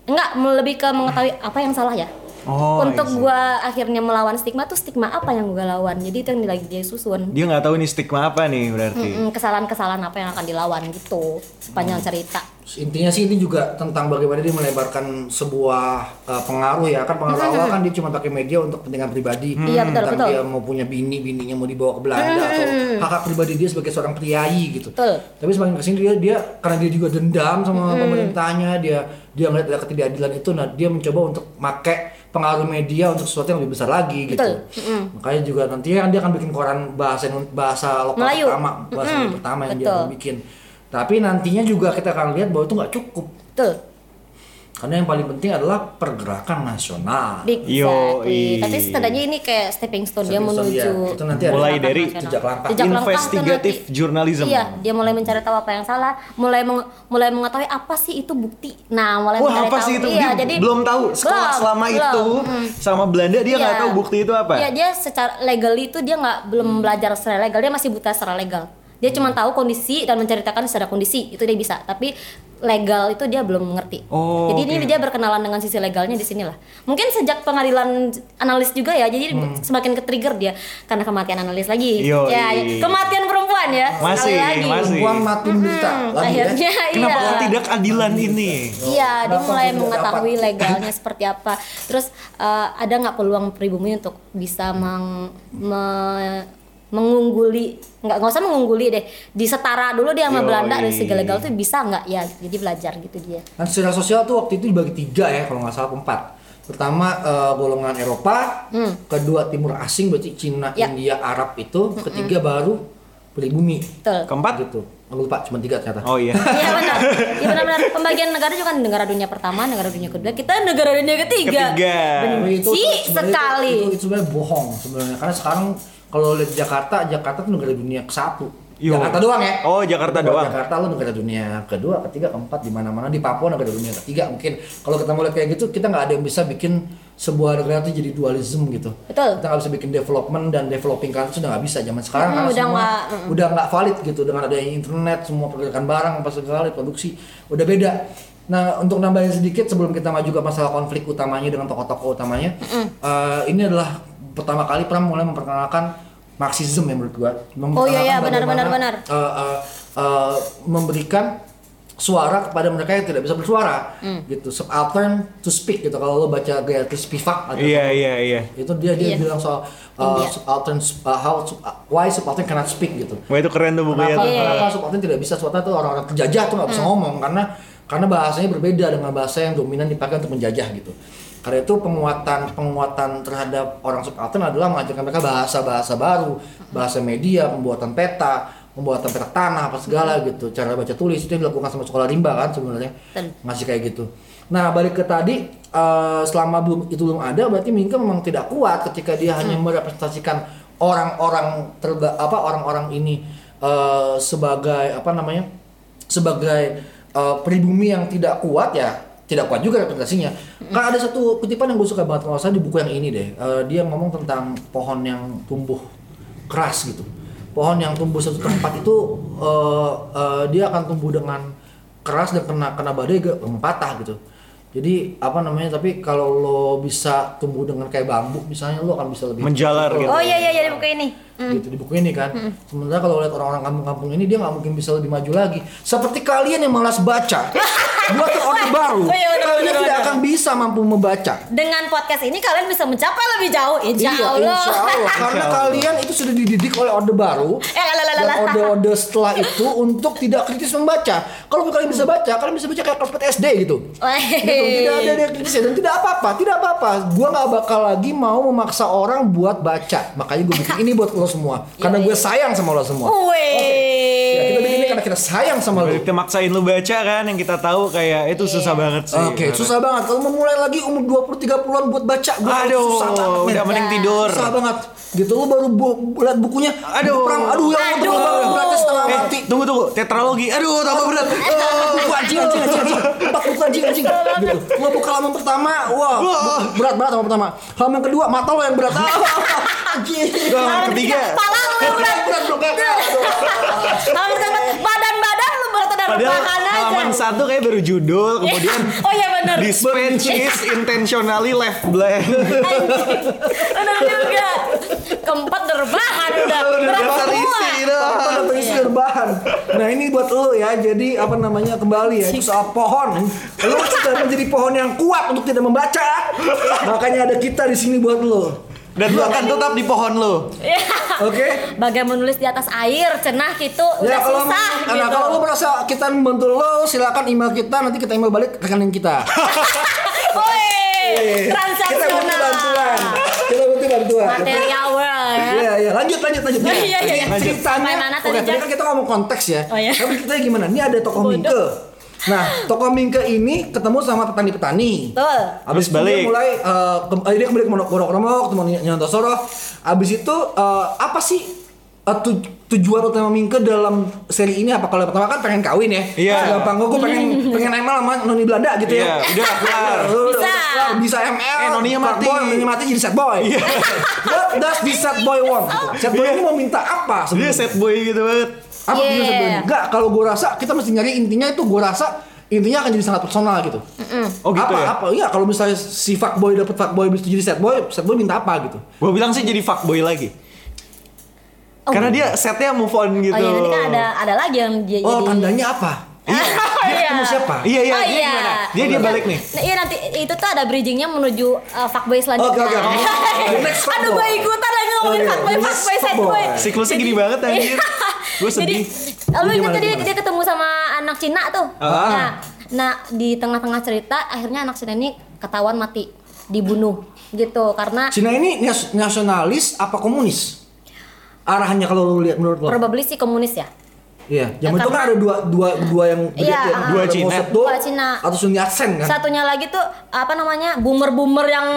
S3: enggak lebih ke mengetahui apa yang salah ya.
S1: Oh, I
S3: Untuk
S1: see.
S3: gua akhirnya melawan stigma tuh stigma apa yang gua lawan. Jadi itu yang lagi dia susun.
S1: Dia nggak tahu nih stigma apa nih berarti.
S3: Mm-mm, kesalahan-kesalahan apa yang akan dilawan gitu sepanjang
S2: Hmm.
S3: cerita.
S2: Terus Intinya sih ini juga tentang bagaimana dia melebarkan sebuah uh, pengaruh ya kan pengaruh awal kan dia cuma pakai media untuk kepentingan pribadi.
S3: Iya, betul,
S2: tentang
S3: betul. Hmm.
S2: dia mau punya bini, bininya mau dibawa ke Belanda atau hak hak pribadi dia sebagai seorang priayi gitu.
S3: Betul. Hmm.
S2: Tapi semakin kesini dia dia karena dia juga dendam sama pemerintahnya dia dia ngeliat ada ketidakadilan itu nah dia mencoba untuk make pengaruh media untuk sesuatu yang lebih besar lagi gitu.
S3: Betul. Hmm.
S2: Makanya juga nantinya kan dia akan bikin koran bahasa bahasa lokal
S3: Melayu. Hmm.
S2: pertama bahasa pertama yang dia
S3: Betul.
S2: akan bikin. Tapi nantinya juga kita akan lihat bahwa itu nggak cukup.
S3: Betul.
S2: Karena yang paling penting adalah pergerakan nasional.
S3: Big
S1: Yoi.
S3: Tapi setidaknya ini kayak stepping stone dia
S2: Stepping stone,
S3: menuju.
S2: iya. Itu nanti ada
S1: Mulai
S3: pergerakan
S1: dari
S3: nasional.
S2: jejak langkah.
S3: Jejak langkah tuh
S1: Investigative
S3: nanti-
S1: journalism.
S3: Iya, dia mulai mencari tahu apa yang salah, mulai meng- mulai mengetahui apa sih itu bukti. Nah, mulai
S1: Wah
S3: mencari
S1: apa
S3: tahu.
S1: sih itu?
S3: Iya,
S1: dia
S3: jadi
S1: belum tahu sekolah
S3: Belum,
S1: selama
S3: belum. Hmm. Mm.
S1: itu sama Belanda dia nggak
S3: Iya.
S1: tahu bukti itu apa. Hmm.
S3: Iya, dia secara legally itu dia nggak belum belajar secara legal, dia masih buta secara legal. Dia cuma tahu kondisi dan menceritakan secara kondisi, itu dia bisa. Tapi legal itu dia belum ngerti.
S1: Oh,
S3: jadi ini
S1: oke.
S3: dia berkenalan dengan sisi legalnya di sinilah. Mungkin sejak pengadilan analis juga ya, jadi semakin ke-trigger dia karena kematian analis lagi.
S1: Hmm. Yoi.
S3: Ya, kematian perempuan ya. sekali
S1: Masih,
S3: lagi.
S1: masih.
S2: Perempuan mati menderita lagi ya.
S3: Hmm, Akhirnya
S1: Kenapa
S3: iya.
S1: tidak adilan ini?
S3: Iya, dia
S2: Kenapa
S3: mulai
S2: tidak
S3: mengetahui
S2: dapat?
S3: legalnya seperti apa. Terus eh, ada nggak peluang pribumi untuk bisa meng, me- mengungguli nggak nggak usah mengungguli deh disetara dulu dia sama
S1: Yoi.
S3: Belanda
S2: iya,
S3: dari segi legal tuh bisa nggak ya jadi belajar gitu dia
S2: Dan Nah, secara sosial tuh waktu itu dibagi tiga ya kalau nggak salah atau empat. Pertama eh, golongan Eropa, kedua Timur Asing berarti Cina,
S3: Hmm. Ya. hmm.
S2: India, Arab itu, ketiga baru pribumi.
S3: betul
S1: Keempat?
S2: Gitu. lupa cuma tiga ternyata
S1: Oh iya.
S3: Iya benar. Iya benar-benar pembagian negara juga kan negara dunia pertama, negara dunia kedua, kita negara dunia ketiga.
S1: Ketiga.
S3: Benci
S2: sebenarnya
S3: sekali.
S2: itu, itu sebenarnya bohong sebenarnya karena sekarang kalau lihat Jakarta Jakarta tuh negara dunia ke satu
S1: Yo.
S2: Jakarta doang ya
S1: Oh, Jakarta
S2: Kalau
S1: doang.
S2: Jakarta lo negara dunia kedua ketiga keempat di mana mana di Papua negara dunia ketiga mungkin kalau kita mau lihat kayak gitu kita nggak ada yang bisa bikin sebuah negara tuh jadi dualism gitu
S3: Betul.
S2: kita nggak bisa bikin development dan developing country sudah nggak bisa zaman sekarang
S3: Hmm,
S2: karena
S3: udah
S2: semua
S3: nggak- mm.
S2: udah nggak valid gitu dengan adanya internet semua pergerakan barang apa segala produksi udah beda nah untuk nambahin sedikit sebelum kita maju ke masalah konflik utamanya dengan tokoh-tokoh utamanya eh, ini adalah pertama kali Pram mulai memperkenalkan Marxism yang menurut gua
S3: Oh, iya, iya,
S2: Memperkenalkan
S3: benar, benar, benar.
S2: eh, eh, eh, memberikan suara kepada mereka yang tidak bisa bersuara gitu subaltern to speak gitu kalau lo baca Gayatri Spivak atau
S1: Iya iya iya.
S2: itu dia dia
S3: Iya.
S2: bilang soal uh,
S3: India.
S2: subaltern uh, how sub- uh, why subaltern cannot speak gitu
S1: Wah itu keren tuh bukunya tuh.
S2: kenapa
S3: Iya.
S2: kenapa Hmm. subaltern tidak bisa suatu itu orang-orang penjajah tuh nggak bisa ngomong karena karena bahasanya berbeda dengan bahasa yang dominan dipakai untuk menjajah gitu karena itu penguatan penguatan terhadap orang subaltern adalah mengajarkan mereka bahasa bahasa baru bahasa media pembuatan peta pembuatan peta tanah apa segala gitu cara baca tulis itu yang dilakukan sama sekolah rimba kan sebenarnya
S3: Betul.
S2: masih kayak gitu. Nah balik ke tadi eh, selama belum itu belum ada berarti Minka memang tidak kuat ketika dia hanya merepresentasikan orang-orang terba apa orang-orang ini eh, sebagai apa namanya sebagai eh, pribumi yang tidak kuat ya tidak kuat juga representasinya. Karena ada satu kutipan yang gue suka banget kalau nggak salah di buku yang ini deh Eh, dia ngomong tentang pohon yang tumbuh keras gitu. Pohon yang tumbuh satu tempat itu eh, eh, dia akan tumbuh dengan keras dan kena kena badai gak patah gitu jadi apa namanya tapi kalau lo bisa tumbuh dengan kayak bambu misalnya lo akan bisa lebih
S1: Menjalar gitu.
S3: Oh iya iya jadi buku ini.
S2: gitu di buku ini kan
S3: Hmm.
S2: sementara kalau lihat orang-orang kampung-kampung ini dia nggak mungkin bisa lebih maju lagi seperti kalian yang malas baca buat orang baru
S3: Oh, iya, bener,
S2: kalian
S3: bener,
S2: tidak
S3: bener.
S2: akan bisa mampu membaca
S3: Dengan podcast ini kalian bisa mencapai lebih jauh. Insya
S2: Iya,
S3: Allah.
S2: insya Allah. Karena
S1: Insya Allah.
S2: kalian itu sudah dididik oleh Orde Baru.
S3: Eh, lah, lah, lah,
S2: dan
S3: lah.
S2: orde-orde setelah itu untuk tidak kritis membaca. Kalau kalian bisa baca, kalian bisa baca kayak karpet SD gitu.
S3: Wah.
S2: Gitu, Tidak ada yang kritis dan tidak apa-apa, tidak apa-apa. Gua nggak bakal lagi mau memaksa orang buat baca. Makanya gue bikin ini buat lo semua. Karena gue sayang sama lo semua. Ya, kita bikin ini
S3: Wih.
S2: karena kita sayang sama lo.
S1: Kita maksain lu baca kan yang kita tahu kayak
S3: Iya.
S1: itu susah banget sih.
S2: Oke, susah banget. Kalau memulai lagi umur 20-30an buat baca, gue
S1: Aduh,
S2: susah banget. men.
S1: udah mending tidur.
S2: Susah banget. Gitu lu baru bu lihat bukunya.
S1: Aduh.
S2: perang. Aduh, ya Allah,
S3: Aduh.
S2: tebel banget. Beratnya setengah
S1: Eh,
S2: mati. Eh,
S1: tunggu tunggu, tetralogi. Aduh, tambah berat.
S2: Buku anjing, anjing, anjing, anjing. Empat buku anjing, anjing. Gitu. Lu buka halaman pertama, wah,
S1: Wah.
S2: berat banget halaman pertama. Halaman kedua, mata lo yang berat. Ah, Anjing.
S1: Udah halaman ketiga.
S3: Kepala lu yang berat.
S2: Berat dong, Kak.
S3: Halaman keempat, Badan-badan lu berat dan
S1: Padahal
S3: bahan aja.
S1: halaman satu kayak baru judul, kemudian
S3: Oh iya benar.
S1: this page is intentionally left blank.
S3: Benar juga. Keempat derbahan udah. Berat
S1: Dasar
S3: semua.
S1: isi dah.
S2: Apa ada terisi berbahan. Nah ini buat lo ya. Jadi apa namanya kembali ya itu soal pohon. Lo sudah menjadi pohon yang kuat untuk tidak membaca. Makanya ada kita di sini buat lo.
S1: Dan lu akan tetap di pohon lu.
S2: Oke.
S3: Bagai Iya. menulis di atas air, cenah gitu, udah
S2: Ya kalau
S3: susah
S2: nah,
S3: gitu.
S2: kalau lo merasa kita membantu lo, silakan email kita. Nanti kita email balik ke rekening kita.
S3: Woi,
S2: Iya, Kita butuh bantuan.
S3: transaksional.
S2: Kita butuh bantuan.
S3: Material world ya.
S2: Iya iya lanjut lanjut lanjut.
S3: Iya, iya, iya.
S2: Ini
S3: Lanjut.
S2: Ceritanya.
S3: Sampai mana tadi,
S2: Oke tadi
S3: Jack?
S2: kan kita ngomong konteks ya.
S3: Oh, iya.
S2: Tapi kita gimana? Ini ada tokoh Mingke. Nah tokoh Mingke ini ketemu sama petani-petani.
S3: Betul.
S1: Terus
S2: Abis itu
S1: balik.
S2: Dia mulai eh, ke- eh, dia kembali ke Monokromo, ketemu Nyanto Soro. Abis itu eh, apa sih eh, tu- tujuan utama Mingke dalam seri ini apa kalau yang pertama kan pengen kawin ya
S1: Iya.
S2: Dalam panggung gue pengen pengen ML sama noni Belanda gitu
S1: Iya,
S2: ya
S1: udah kelar.
S3: Bisa.
S2: Wah, bisa ML
S1: Eh, noninya
S2: Sad
S1: mati.
S2: boy, noninya mati jadi sad boy what does this sad boy want gitu. sad boy ini mau minta apa
S1: Dia
S2: sebenarnya
S1: sad boy gitu banget.
S2: apa
S3: Yeah.
S2: tujuan sebenarnya? Enggak, kalau gue rasa kita mesti nyari intinya itu gue rasa intinya akan jadi sangat personal gitu.
S1: Oh, gitu
S2: apa,
S1: ya?
S2: Apa iya kalau misalnya si fuckboy dapet fuckboy bisa jadi sad boy, sad boy minta apa gitu.
S1: Gua bilang sih jadi fuckboy lagi.
S3: Oh.
S1: Karena dia setnya move on gitu.
S3: Oh iya, nanti kan ada ada lagi yang dia
S2: Oh,
S3: jadi.
S2: tandanya apa?
S3: Iya.
S2: Dia ketemu siapa?
S1: Iya iya,
S3: Oh,
S1: dia
S3: iya.
S1: gimana? Dia dia balik nih.
S3: Nah, iya nanti itu tuh ada bridgingnya menuju uh, fuckboy
S2: Oke,
S3: selanjutnya.
S2: oke, oke. The next fuckboy.
S3: Aduh gue ikutan lagi ngomongin
S2: Oke,
S3: fuckboy,
S2: the next
S3: fuckboy,
S2: fuckboy.
S3: fuckboy.
S1: Siklusnya gini banget anjir. Gua sedih.
S3: Jadi, lu ingat
S2: Gimana,
S3: tadi
S2: gimana?
S3: dia ketemu sama anak Cina tuh.
S1: Ah.
S3: Nah, nah di tengah-tengah cerita akhirnya anak Cina ini ketahuan mati, dibunuh gitu karena
S2: Cina ini nas- nasionalis apa komunis? Arahannya kalau lu lihat menurut lo.
S3: probably sih komunis ya.
S2: Iya, zaman itu kan
S3: Karena-
S2: ada dua dua dua yang gede
S3: Iya,
S2: tuh ya,
S3: ah.
S1: Dua
S2: ada
S1: Cina.
S2: Mao Zedong,
S3: Dua Cina.
S2: atau Sun Yat-sen kan.
S3: Satunya lagi tuh apa namanya? boomer-boomer yang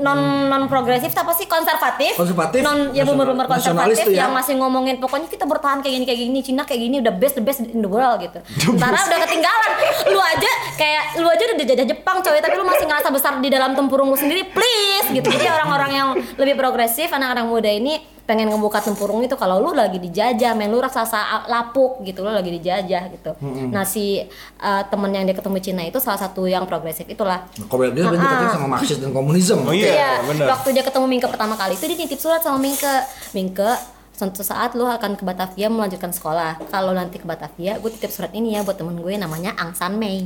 S3: non non progresif tapi sih konservatif.
S2: Hmm. Konservatif.
S3: Non ya
S2: Nasional-
S3: boomer-boomer
S2: nasionalis
S3: konservatif
S2: tuh ya.
S3: yang masih ngomongin pokoknya kita bertahan kayak gini kayak gini, Cina kayak gini udah best the best in the world gitu. Sementara udah ketinggalan. Lu aja kayak lu aja udah dijajah Jepang coy, tapi lu masih ngerasa besar di dalam tempurung lu sendiri, please gitu. Jadi orang-orang yang lebih progresif, anak-anak muda ini pengen ngebuka tempurung itu kalau lu lagi dijajah, men lu raksasa lapuk gitu, lu lagi dijajah gitu. Nah si uh, temen yang dia ketemu Cina itu salah satu yang progresif itulah.
S2: Nah, Kalau dia sebenarnya dekatnya sama Marxis dan komunisme.
S1: Oh iya, bener.
S3: Waktu dia ketemu Mingke pertama kali itu dia nitip surat sama Mingke. Mingke, suatu saat lu akan ke Batavia melanjutkan sekolah. Kalau nanti ke Batavia, gue titip surat ini ya buat temen gue namanya Ang San Mei.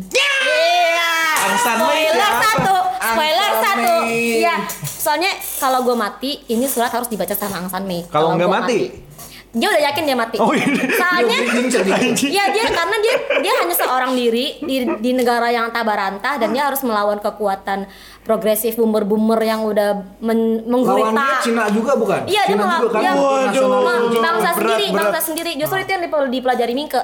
S1: Ang San Mei
S3: Spoiler
S1: siapa?
S3: satu,
S2: Ang
S3: spoiler
S2: San
S3: satu.
S2: Mei.
S3: Iya, soalnya kalau gue mati, ini surat harus dibaca sama Ang San Mei.
S1: Kalau nggak
S3: gua
S1: mati?
S3: dia udah yakin dia mati.
S1: Oh, iya.
S3: Soalnya
S2: Dia bridging, cerdik.
S3: Iya dia karena dia dia hanya seorang diri di, di negara yang tabarantah dan dia harus melawan kekuatan progresif boomer-boomer yang udah men,
S2: Lawannya
S3: menggurita.
S2: Cina juga bukan?
S3: Iya dia
S2: Cina
S3: malah
S2: juga kan?
S3: dia
S1: Waduh,
S2: nasionalis.
S3: ma- bangsa
S1: berat,
S3: sendiri,
S1: berat.
S3: bangsa sendiri. Justru itu yang perlu dipelajari Mingke.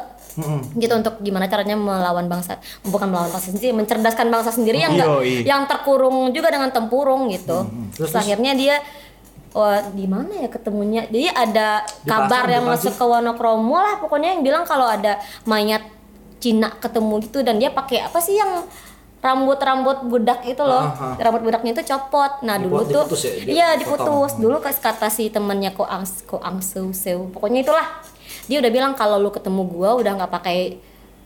S3: gitu untuk gimana caranya melawan bangsa bukan melawan bangsa sendiri mencerdaskan bangsa sendiri yang enggak
S1: Yoi.
S3: yang terkurung juga dengan tempurung gitu terus, akhirnya dia oh, di mana ya ketemunya jadi ada
S2: Di
S3: kabar
S2: pasar,
S3: yang
S2: di
S3: masuk ke Wonokromo lah pokoknya yang bilang kalau ada mayat Cina ketemu gitu dan dia pakai apa sih yang rambut-rambut budak itu loh
S2: Ah, ah.
S3: rambut budaknya itu copot nah dulu
S2: Dipotong-
S3: tuh
S2: diputus ya, dia
S3: iya
S2: potong.
S3: diputus dulu kas- kata si temennya ko ang ko ang seu seu pokoknya itulah dia udah bilang kalau lu ketemu gua udah nggak pakai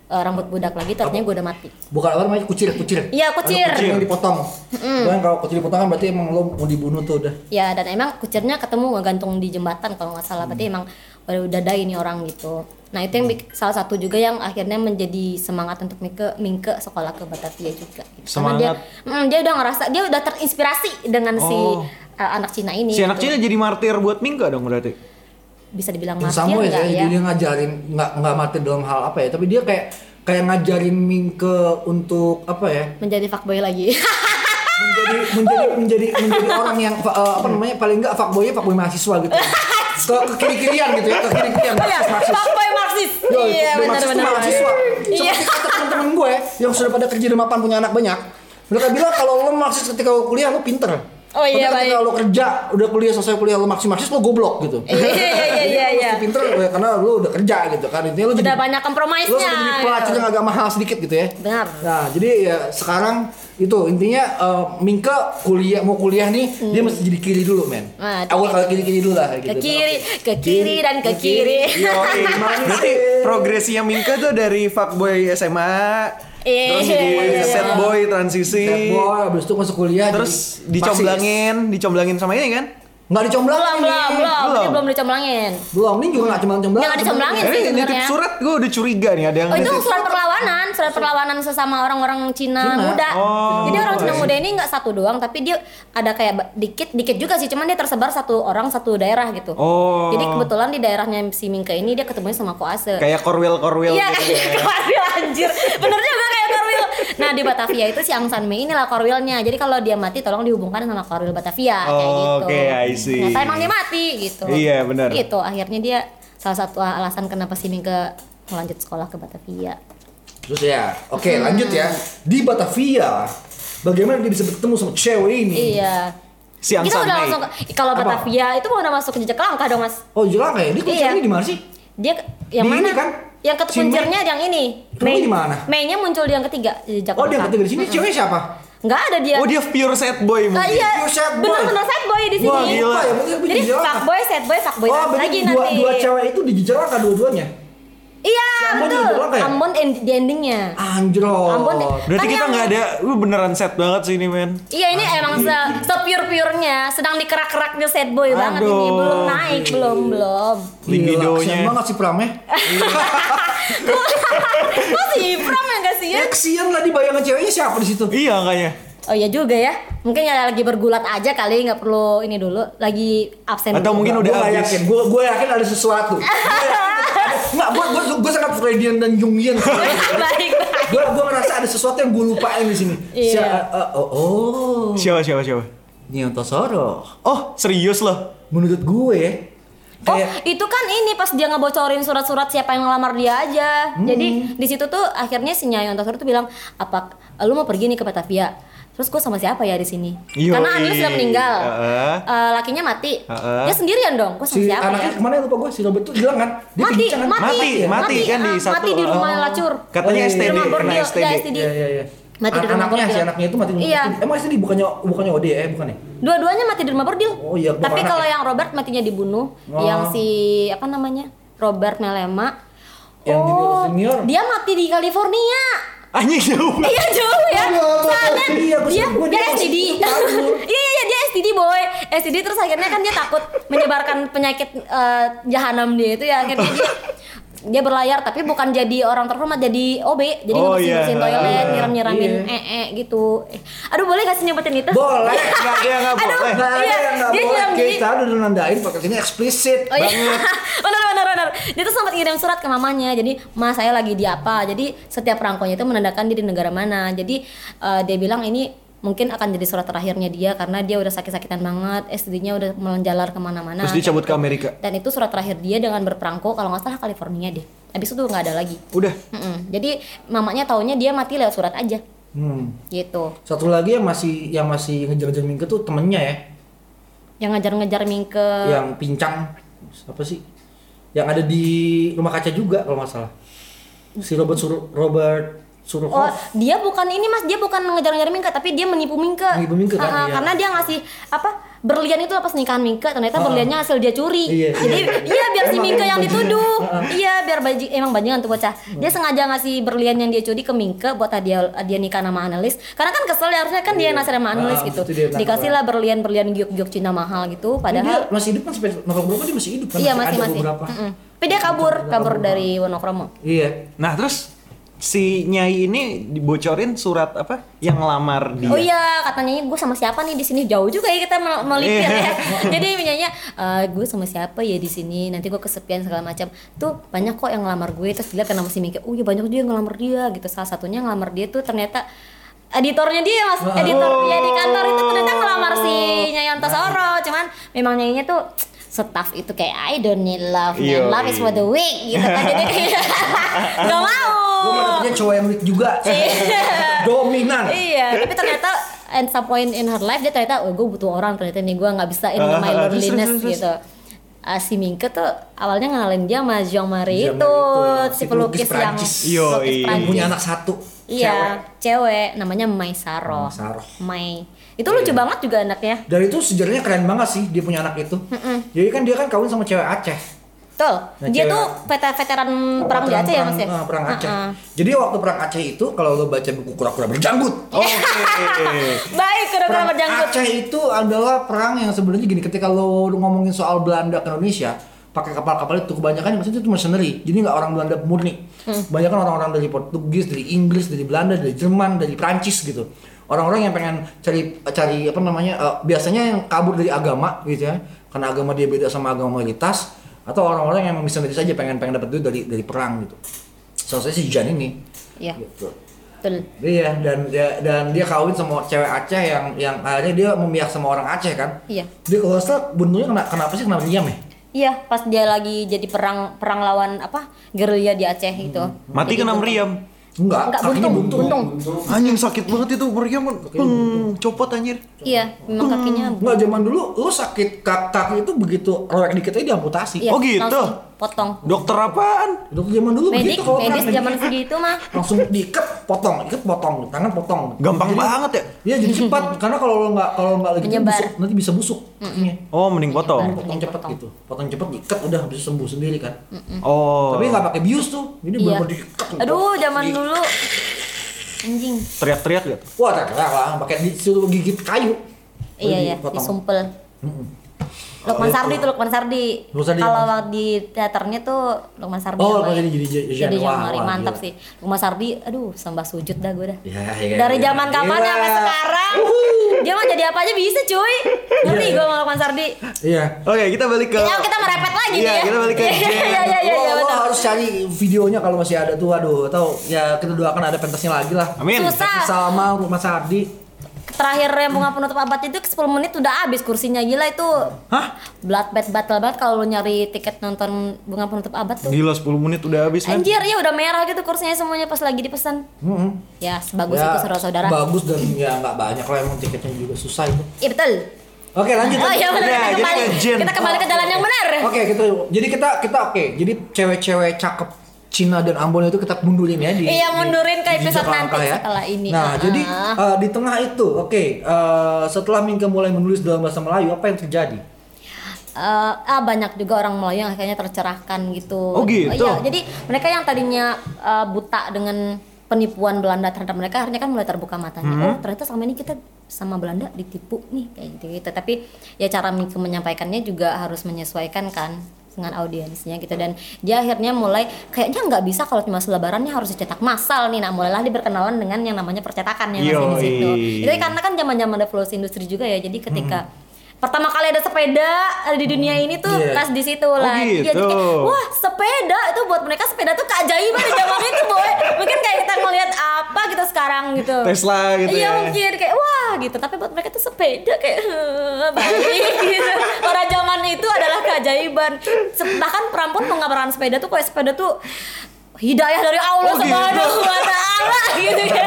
S3: eh, rambut budak lagi ternyata gua udah mati
S2: Bukan apa namanya kucir, kucir.
S3: Iya, kucir.
S2: Ada kucir yang dipotong. Lu yang kalau kucir dipotong kan berarti emang lo mau dibunuh tuh udah.
S3: ya dan emang kucirnya ketemu gantung di jembatan kalau nggak
S2: Hmm.
S3: salah berarti emang udah udah ada ini orang gitu nah itu yang bik- salah satu juga yang akhirnya menjadi semangat untuk Mingke Mingke sekolah ke Batavia juga gitu. Karena dia, mm, dia udah ngerasa dia udah terinspirasi dengan si
S1: Oh.
S3: eh, anak Cina ini
S1: Si anak
S3: gitu.
S1: Cina jadi martir buat Mingke dong berarti.
S3: bisa dibilang
S2: Yang
S3: martir
S2: sama ya,
S3: nggak
S2: jadi dia ngajarin nggak nggak mati dalam hal apa ya, tapi dia kayak kayak ngajarin Mingke untuk apa ya?
S3: menjadi fuckboy lagi
S2: menjadi menjadi menjadi menjadi orang yang eh, apa namanya paling enggak fuckboy fuckboy mahasiswa gitu. Ke, ke kiri kirian gitu ya, ke kiri kirian.
S3: Iya, fuckboy Marxis.
S2: Yo,
S3: Iya,
S2: fuckboy
S3: benar
S2: Marxis itu
S3: benar.
S2: mahasiswa.
S3: Iya.
S2: Seperti kata teman-teman gue yang sudah pada kerja di mapan punya anak banyak. Mereka bilang kalau lo marxis ketika lo kuliah lo pinter.
S3: Oh, iya,
S2: Tapi ketika
S3: baik.
S2: lo kerja udah kuliah selesai kuliah lo marxis marxis lo goblok gitu.
S3: Iya, iya, iya,
S2: Jadi
S3: iya,
S2: lo mesti
S3: iya.
S2: Pinter ya, karena lo udah kerja gitu kan intinya lo jadi
S3: Udah banyak
S2: lo sudah
S3: kompromisnya.
S2: jadi pelacur yang agak mahal sedikit gitu ya.
S3: Benar.
S2: Nah, jadi ya sekarang itu intinya eh, Mingke kuliah mau kuliah nih dia mesti jadi kiri dulu men.
S3: Nah,
S2: Awal kalau kiri kiri dulu lah.
S3: Hmm. Ke
S2: Gitu.
S3: kiri, ke kiri
S1: Iya.
S3: dan ke kiri.
S1: Yo, berarti progresinya Mingke tuh dari fuckboy SMA
S3: Iya,
S1: terus
S3: iya,
S1: jadi
S3: iya.
S1: sad boy transisi.
S2: Bad boy, abis itu masuk kuliah.
S1: Terus
S2: jadi
S1: dicomblangin, dicomblangin sama ini kan?
S2: Marxis. Nggak dicomblangin.
S3: Belum, belum,
S2: nih.
S3: belum.
S1: Belum.
S3: Ini belum dicomblangin.
S2: Belum, ini juga nggak cuma comblangin.
S3: Nggak dicomblangin. Iya sih,
S1: Eh, nitip
S3: sebenarnya.
S1: surat gue udah curiga nih ada yang
S3: Oh itu
S1: nitip.
S3: surat perlawanan, surat perlawanan sesama orang-orang Cina,
S2: Cina.
S3: muda.
S1: Oh,
S3: Jadi orang Cina
S1: oke.
S3: muda ini nggak satu doang, tapi dia ada kayak ba- dikit, dikit juga sih. Cuman dia tersebar satu orang satu daerah gitu.
S1: Oh.
S3: Jadi kebetulan di daerahnya si Mingke ini dia ketemunya sama Koase.
S1: Kayak korwil korwil
S3: Iya
S1: gitu.
S3: kayak Korwil anjir Bener juga kayak Korwil Nah di Batavia itu si Ang San Mei inilah Korwilnya Jadi kalau dia mati tolong dihubungkan sama Korwil Batavia kayak
S1: Oh,
S3: gitu
S1: oke, I see.
S3: Ternyata emang dia mati gitu
S1: Iya, bener.
S3: Gitu akhirnya dia salah satu alasan kenapa si Mingke lanjut sekolah ke Batavia
S2: Terus ya, oke
S3: Hmm.
S2: lanjut ya. Di Batavia, bagaimana dia bisa bertemu sama cewek ini?
S3: Iya
S1: Si Ang
S3: Kita
S1: San
S3: udah
S1: Mei.
S3: langsung Kalau
S2: Apa?
S3: Batavia itu mau udah masuk ke jejak langkah dong mas
S2: Oh jelas kayak dia kuliah
S3: Iya.
S2: di mana sih?
S3: Dia ke- yang
S2: Di
S3: mana?
S2: ini kan? Si
S3: Yang
S2: Mei.
S3: ketukuncirnya yang ini
S2: Kamu di mana?
S3: Mei-nya muncul di yang ketiga di jejak
S2: Oh dia
S3: langkah.
S2: ketiga di sini cewek siapa?
S3: Nggak ada dia
S1: Oh dia pure sad boy
S3: Ah,
S1: mungkin.
S3: iya,
S2: Pure sad boy.
S3: bener-bener sad boy di sini.
S2: Wah, gila. Ya, berarti lebih
S3: Jadi
S2: gila.
S3: fuckboy, sad boy, fuckboy
S2: oh,
S3: lagi
S2: berarti
S3: lagi
S2: dua,
S3: nanti.
S2: dua cewek itu dijejalkan dua-duanya.
S3: Iya,
S2: si Ambon
S3: betul.
S2: juga jelaka ya?
S3: Ambon end- di endingnya.
S2: Anjrot.
S3: Ambon.
S1: Berarti
S3: Kan
S1: kita
S3: yang-
S1: nggak ada, lu beneran sad banget sih ini men.
S3: Iya ini
S2: Ah,
S3: emang se, pure purenya sedang dikerak-keraknya sad boy banget ini
S1: Aduh.
S3: belum naik belum belum.
S1: Libidonya.
S2: Kesian banget si Pram ya.
S3: Kok sih Pram yang gak sih ya?
S2: Ya kesian lah dibayangin ceweknya siapa di situ.
S1: Iya kayaknya.
S3: Oh iya juga ya. Mungkin ya lagi bergulat aja kali nggak perlu ini dulu lagi absen.
S1: Atau
S3: dulu.
S1: mungkin
S2: Gua
S1: udah
S2: nggak
S1: habis.
S2: yakin, gue gue yakin ada sesuatu. Enggak, gue gue gue sangat Freudian dan Jungian.
S3: baik baik.
S2: Gue gue ngerasa ada sesuatu yang gue lupain di sini.
S3: Iya.
S2: Sia- eh, oh, oh.
S1: Siapa siapa siapa?
S2: Nyonto Soro
S1: Oh serius loh.
S2: menuntut gue ya,
S3: Oh,
S2: Kayak-
S3: itu kan ini pas dia ngebocorin surat-surat siapa yang ngelamar dia aja. Jadi
S2: Hmm.
S3: di situ tuh akhirnya si Nyai Ontosuri tuh bilang, "Apa lu mau pergi nih ke Batavia?" Terus gue sama siapa ya di sini?
S1: Yoi.
S3: Karena Anil sudah meninggal.
S1: Heeh.
S3: Eh, lakinya mati.
S1: Heeh.
S3: Dia sendirian dong. Gue sama
S2: si
S3: siapa
S2: anaknya
S3: ya?
S2: kemana ya lupa gue si Robert tuh hilang kan dia
S3: Mati,
S2: kencang kan?
S3: mati,
S1: Mati,
S2: ya?
S1: mati kan di
S3: ah,
S1: satu.
S3: mati di rumah
S1: Oh.
S3: lacur.
S1: Katanya
S2: Oh, iya,
S1: STD,
S2: iya,
S1: kena
S2: iya.
S3: Rumah bordil,
S1: STD.
S3: ya, STD.
S2: Iya iya iya.
S3: Mati
S2: An-
S3: di rumah
S2: anaknya si
S3: bordil.
S2: anaknya itu mati di rumah
S3: Iya.
S2: bordil. Emang sih di bukannya bukannya ODE ya, bukan ya?
S3: Dua-duanya mati di rumah bordil.
S2: Oh, iya,
S3: Tapi
S2: keluar
S3: kalau
S2: anak.
S3: yang Robert matinya dibunuh,
S2: Oh.
S3: yang si apa namanya? Robert Melema.
S2: Yang junior
S3: oh,
S2: senior.
S3: Dia mati di California.
S1: Anjing jauh.
S3: Iya jauh ya.
S2: Aduh,
S3: Soalnya
S2: iya,
S3: dia
S2: gua
S3: dia,
S2: sih- gua- dia
S3: STD.
S2: masih
S3: Iya
S2: kabur.
S3: iya iya, dia STD boy. STD terus akhirnya kan dia takut menyebarkan penyakit eh, jahanam dia itu ya akhirnya dia dia berlayar tapi bukan jadi orang terhormat jadi OB jadi
S1: Oh,
S3: ngurusin ngurusin
S1: iya.
S3: toilet nyiram nyiramin
S2: Iya.
S3: ee gitu Eh, aduh boleh gak sih nyebutin itu
S2: Boleh.
S1: Enggak dia enggak
S3: Aduh.
S1: boleh.
S2: Nggak ada
S3: Iya,
S2: yang nggak
S3: dia
S2: boleh.
S3: hilang, jadi-
S2: Kita udah nandain pakai ini eksplisit.
S3: Oh iya, benar benar benar. Dia tuh sempat ngirim surat ke mamanya. Jadi, "Ma, saya lagi di apa?" Jadi, setiap rangkonya itu menandakan dia di negara mana. Jadi, eh, dia bilang ini mungkin akan jadi surat terakhirnya dia karena dia udah sakit-sakitan banget, SD-nya udah menjalar kemana-mana.
S1: Terus dicabut ke Amerika.
S3: Dan itu surat terakhir dia dengan berperangko kalau nggak salah California deh. Habis itu nggak ada lagi.
S1: Udah.
S3: Mm-mm. Jadi, mamanya taunya dia mati lewat surat aja.
S2: Hmm.
S3: Gitu.
S2: Satu lagi yang masih yang masih ngejar-ngejar Mingke tuh temennya ya,
S3: Yang ngajar-ngajar Mingke.
S2: yang pincang apa sih? Yang ada di rumah kaca juga kalau nggak salah. Si Robert suruh Robert suruh
S3: Oh, dia bukan ini mas, dia bukan ngejar-ngejar Mingke, tapi dia menipu Mingke.
S2: Menipu Mingke, kan?
S3: Ah, ah,
S2: Iya.
S3: Karena dia ngasih apa berlian itu pas nikahan Mingke, ternyata
S2: Ah.
S3: berliannya hasil dia curi.
S2: Iya,
S3: Jadi iya biar si
S2: Emang
S3: Mingke
S2: emang
S3: yang
S2: bajingan. Hmm.
S3: dituduh.
S2: Ah, ah.
S3: Iya biar baji, emang bajingan tuh bocah. Dia sengaja ngasih berlian yang dia curi ke Mingke buat hadiah dia nikah sama analis. Karena kan kesel ya harusnya kan dia yang nasir sama analis
S2: Ah,
S3: gitu.
S2: itu dia nangkep.
S3: Dikasih lah berlian-berlian giuk-giuk Cina mahal gitu.
S2: Padahal
S3: Padahal
S2: dia masih hidup kan sampai novel berapa dia masih hidup kan?
S3: iya masih
S2: ada
S3: masih.
S2: beberapa.
S3: Mm-mm. Tapi dia kabur, kabur dari Wonokromo.
S2: Iya.
S1: Nah, terus si Nyai ini dibocorin surat apa yang ngelamar dia.
S3: Oh iya, katanya gue sama siapa nih di sini jauh juga ya kita mel- melipir
S1: Iya.
S3: ya. Jadi minyaknya gue sama siapa ya di sini. Nanti gue kesepian segala macam. Tuh banyak kok yang ngelamar gue terus dilihat karena masih mikir, oh iya banyak dia yang ngelamar dia gitu. Salah satunya yang ngelamar dia tuh ternyata editornya dia mas, editor
S1: Oh.
S3: dia di kantor itu ternyata ngelamar si Nyai
S1: Nah.
S3: Antasoro. Cuman memang nyanyinya tuh staff itu kayak I don't need love, man.
S1: Yoi.
S3: love is for the weak gitu kan. Jadi kayak nggak
S2: Gue mau
S3: mau.
S2: cowok yang weak juga. Dominan.
S3: Oh. Iya, tapi ternyata at some point in her life dia ternyata oh, gue butuh orang ternyata nih gue nggak bisa in my
S1: Ah, terus,
S3: loneliness
S1: terus, terus.
S3: gitu. Ah, si Mingke tuh awalnya ngenalin dia sama Jean Marie
S2: Jean
S3: itu
S2: Marie itu,
S3: si
S2: si
S3: pelukis
S2: pelukis
S3: yang
S2: Prancis.
S1: Yoi.
S3: pelukis
S2: Yang
S3: Prancis.
S2: punya anak satu.
S3: Iya,
S2: Cewek.
S3: cewek. namanya Mai Saro.
S2: Mai Saroh. Iya.
S3: Mai. Itu lucu banget juga anaknya.
S2: Dan itu sejarahnya keren banget sih dia punya anak itu. Jadi kan dia kan kawin sama cewek Aceh.
S3: Betul.
S2: Nah,
S3: dia
S2: cewek.
S3: tuh veteran, veteran perang di Aceh ya Mas ya?
S2: ah, perang Aceh.
S3: Ah, ah.
S2: Jadi waktu perang Aceh itu kalau lo baca buku kura-kura berjanggut.
S1: Oke.
S3: Baik, kura-kura
S2: Perang
S3: berjanggut.
S2: Aceh itu adalah perang yang sebenarnya gini ketika lo ngomongin soal Belanda ke Indonesia pakai kapal-kapal itu kebanyakan yang maksudnya itu mercenary jadi nggak orang Belanda murni banyak orang-orang dari Portugis dari Inggris dari Belanda dari Jerman dari Prancis gitu orang-orang yang pengen cari cari apa namanya eh, biasanya yang kabur dari agama gitu ya karena agama dia beda sama agama mayoritas atau orang-orang yang bisa saja pengen pengen dapat duit dari dari perang gitu salah satunya si Jan ini
S3: Iya,
S2: gitu
S3: betul.
S2: Iya dan dia, dan dia kawin sama cewek Aceh yang yang akhirnya dia memihak sama orang Aceh kan.
S3: Iya.
S2: Dia kalau nggak salah bunuhnya kena kenapa sih kenapa diam ya?
S3: Iya, pas dia lagi jadi perang perang lawan apa gerilya di Aceh gitu.
S1: Hmm. Mati
S3: Jadi
S1: kena
S3: buntung.
S1: meriam.
S2: Enggak,
S3: Enggak,
S2: kakinya
S3: buntung,
S2: buntung.
S3: buntung.
S1: Anjing sakit banget itu meriam kan. Hmm, copot anjir.
S3: Iya, memang kakinya.
S1: Hmm.
S2: Enggak zaman dulu lu sakit kaki, kaki itu begitu robek dikit aja diamputasi.
S3: Iya,
S1: Oh, gitu? Oh,
S3: langsung Potong.
S1: Dokter apaan?
S2: Dulu zaman dulu begitu
S3: Medik,
S2: kalau perang
S3: medis
S2: medis.
S3: zaman segitu mah.
S2: langsung diikat potong, ikat potong, tangan potong.
S1: Gampang banget ya?
S2: Iya jadi cepat karena kalau lo nggak kalau nggak lagi
S3: Menyebar.
S2: busuk, nanti bisa busuk kakinya.
S1: Oh, mending potong.
S2: Potong cepat gitu, potong cepat diikat udah bisa sembuh sendiri kan.
S1: Oh.
S2: Tapi nggak pakai bius tuh, jadi
S3: Iya.
S2: benar-benar diikat.
S3: Aduh, zaman
S2: Diikat.
S3: dulu. Anjing.
S1: teriak-teriak gitu.
S2: Wah, terkenal lah, pakai disuruh gigit kayu.
S3: Iya ya,
S2: potong.
S3: disumpel. Lukman Sardi tuh Lukman Sardi.
S2: Lukman Oh, Sardi
S3: Kalau
S2: yang
S3: di teaternya tuh Lukman Sardi.
S2: Oh,
S3: yang
S2: Lukman
S3: main.
S2: Sardi jadi J- Jan.
S3: jadi Jan
S2: Wah,
S3: Mari.
S2: wah,
S3: mantap
S2: gila.
S3: sih. Lukman Sardi, aduh, sembah sujud dah gue dah.
S2: Ya, ya,
S3: Dari
S2: ya.
S3: zaman kapan
S2: Gila.
S3: sampai sekarang,
S2: Uhuh.
S3: dia mah jadi apa aja bisa cuy. Ngerti gue sama Lukman Sardi.
S2: Iya.
S1: Oke, kita balik ke
S3: Kita kita merepet lagi
S1: Iya,
S3: nih ya.
S1: kita balik ke
S3: Iya,
S1: Jen.
S3: Iya iya iya
S2: Lo-
S3: iya
S2: lo
S3: betul.
S2: harus cari videonya kalau masih ada
S3: Nah.
S2: tuh, aduh, atau ya kita doakan ada pentasnya lagi lah.
S1: Amin.
S3: Susah.
S2: Sama rumah Sardi.
S3: terakhir yang bunga penutup abad itu 10 menit udah habis kursinya gila itu
S1: Hah?
S3: bloodbath battle banget kalau lu nyari tiket nonton bunga penutup abad tuh
S1: Gila 10 menit udah habis kan?
S3: anjir ya udah merah gitu kursinya semuanya pas lagi dipesan
S2: Mm-mm.
S3: ya sebagus itu saudara-saudara
S2: Bagus dan ya nggak banyak lah emang tiketnya juga susah itu.
S3: iya betul
S2: Oke lanjut.
S3: oh iya benar
S1: Udah,
S3: kita
S1: jadi Oh.
S3: kembali
S1: ke Jen.
S3: kita kembali ke jalan yang benar
S2: Oke kita jadi kita kita oke jadi cewek-cewek cakep Cina dan Ambon itu kita mundurin ya di
S3: Iya, mundurin ke
S2: di- di
S3: episode
S2: jejak
S3: nanti
S2: langkah
S3: setelah ini.
S2: Nah
S3: Ah.
S2: jadi eh, di tengah itu oke eh, setelah Mingke mulai menulis dalam bahasa Melayu apa yang terjadi?
S3: Eh, ah banyak juga orang Melayu yang akhirnya tercerahkan gitu.
S1: Oh, gitu?
S3: iya, jadi mereka yang tadinya eh, buta dengan penipuan Belanda terhadap mereka akhirnya kan mulai terbuka matanya.
S1: Hmm.
S3: Oh, ternyata selama ini kita sama Belanda ditipu nih kayak gitu. -gitu. Tapi ya cara Mingke menyampaikannya juga harus menyesuaikan kan dengan audiensnya gitu dan dia akhirnya mulai kayaknya nggak bisa kalau cuma selebarannya harus dicetak massal nih nah mulailah diperkenalan dengan yang namanya percetakan yang masih di situ
S1: Yoi.
S3: itu karena kan zaman-zaman revolusi industri juga ya jadi ketika
S1: Hmm.
S3: pertama kali ada sepeda ada di dunia ini tuh
S2: Iya.
S3: pas di situ
S1: Oh,
S3: lah Iya, jadi kayak,
S1: gitu.
S3: wah sepeda itu buat mereka sepeda tuh keajaiban di zaman itu boy mungkin kayak kita ngelihat apa gitu sekarang gitu
S1: Tesla gitu ya.
S3: iya mungkin kayak wah gitu tapi buat mereka tuh sepeda kayak "Heh, baik gitu pada zaman itu adalah keajaiban Se- bahkan perampun mengabarkan sepeda tuh kayak sepeda tuh hidayah dari Allah
S1: Oh, gitu.
S3: subhanahu wa ta'ala gitu ya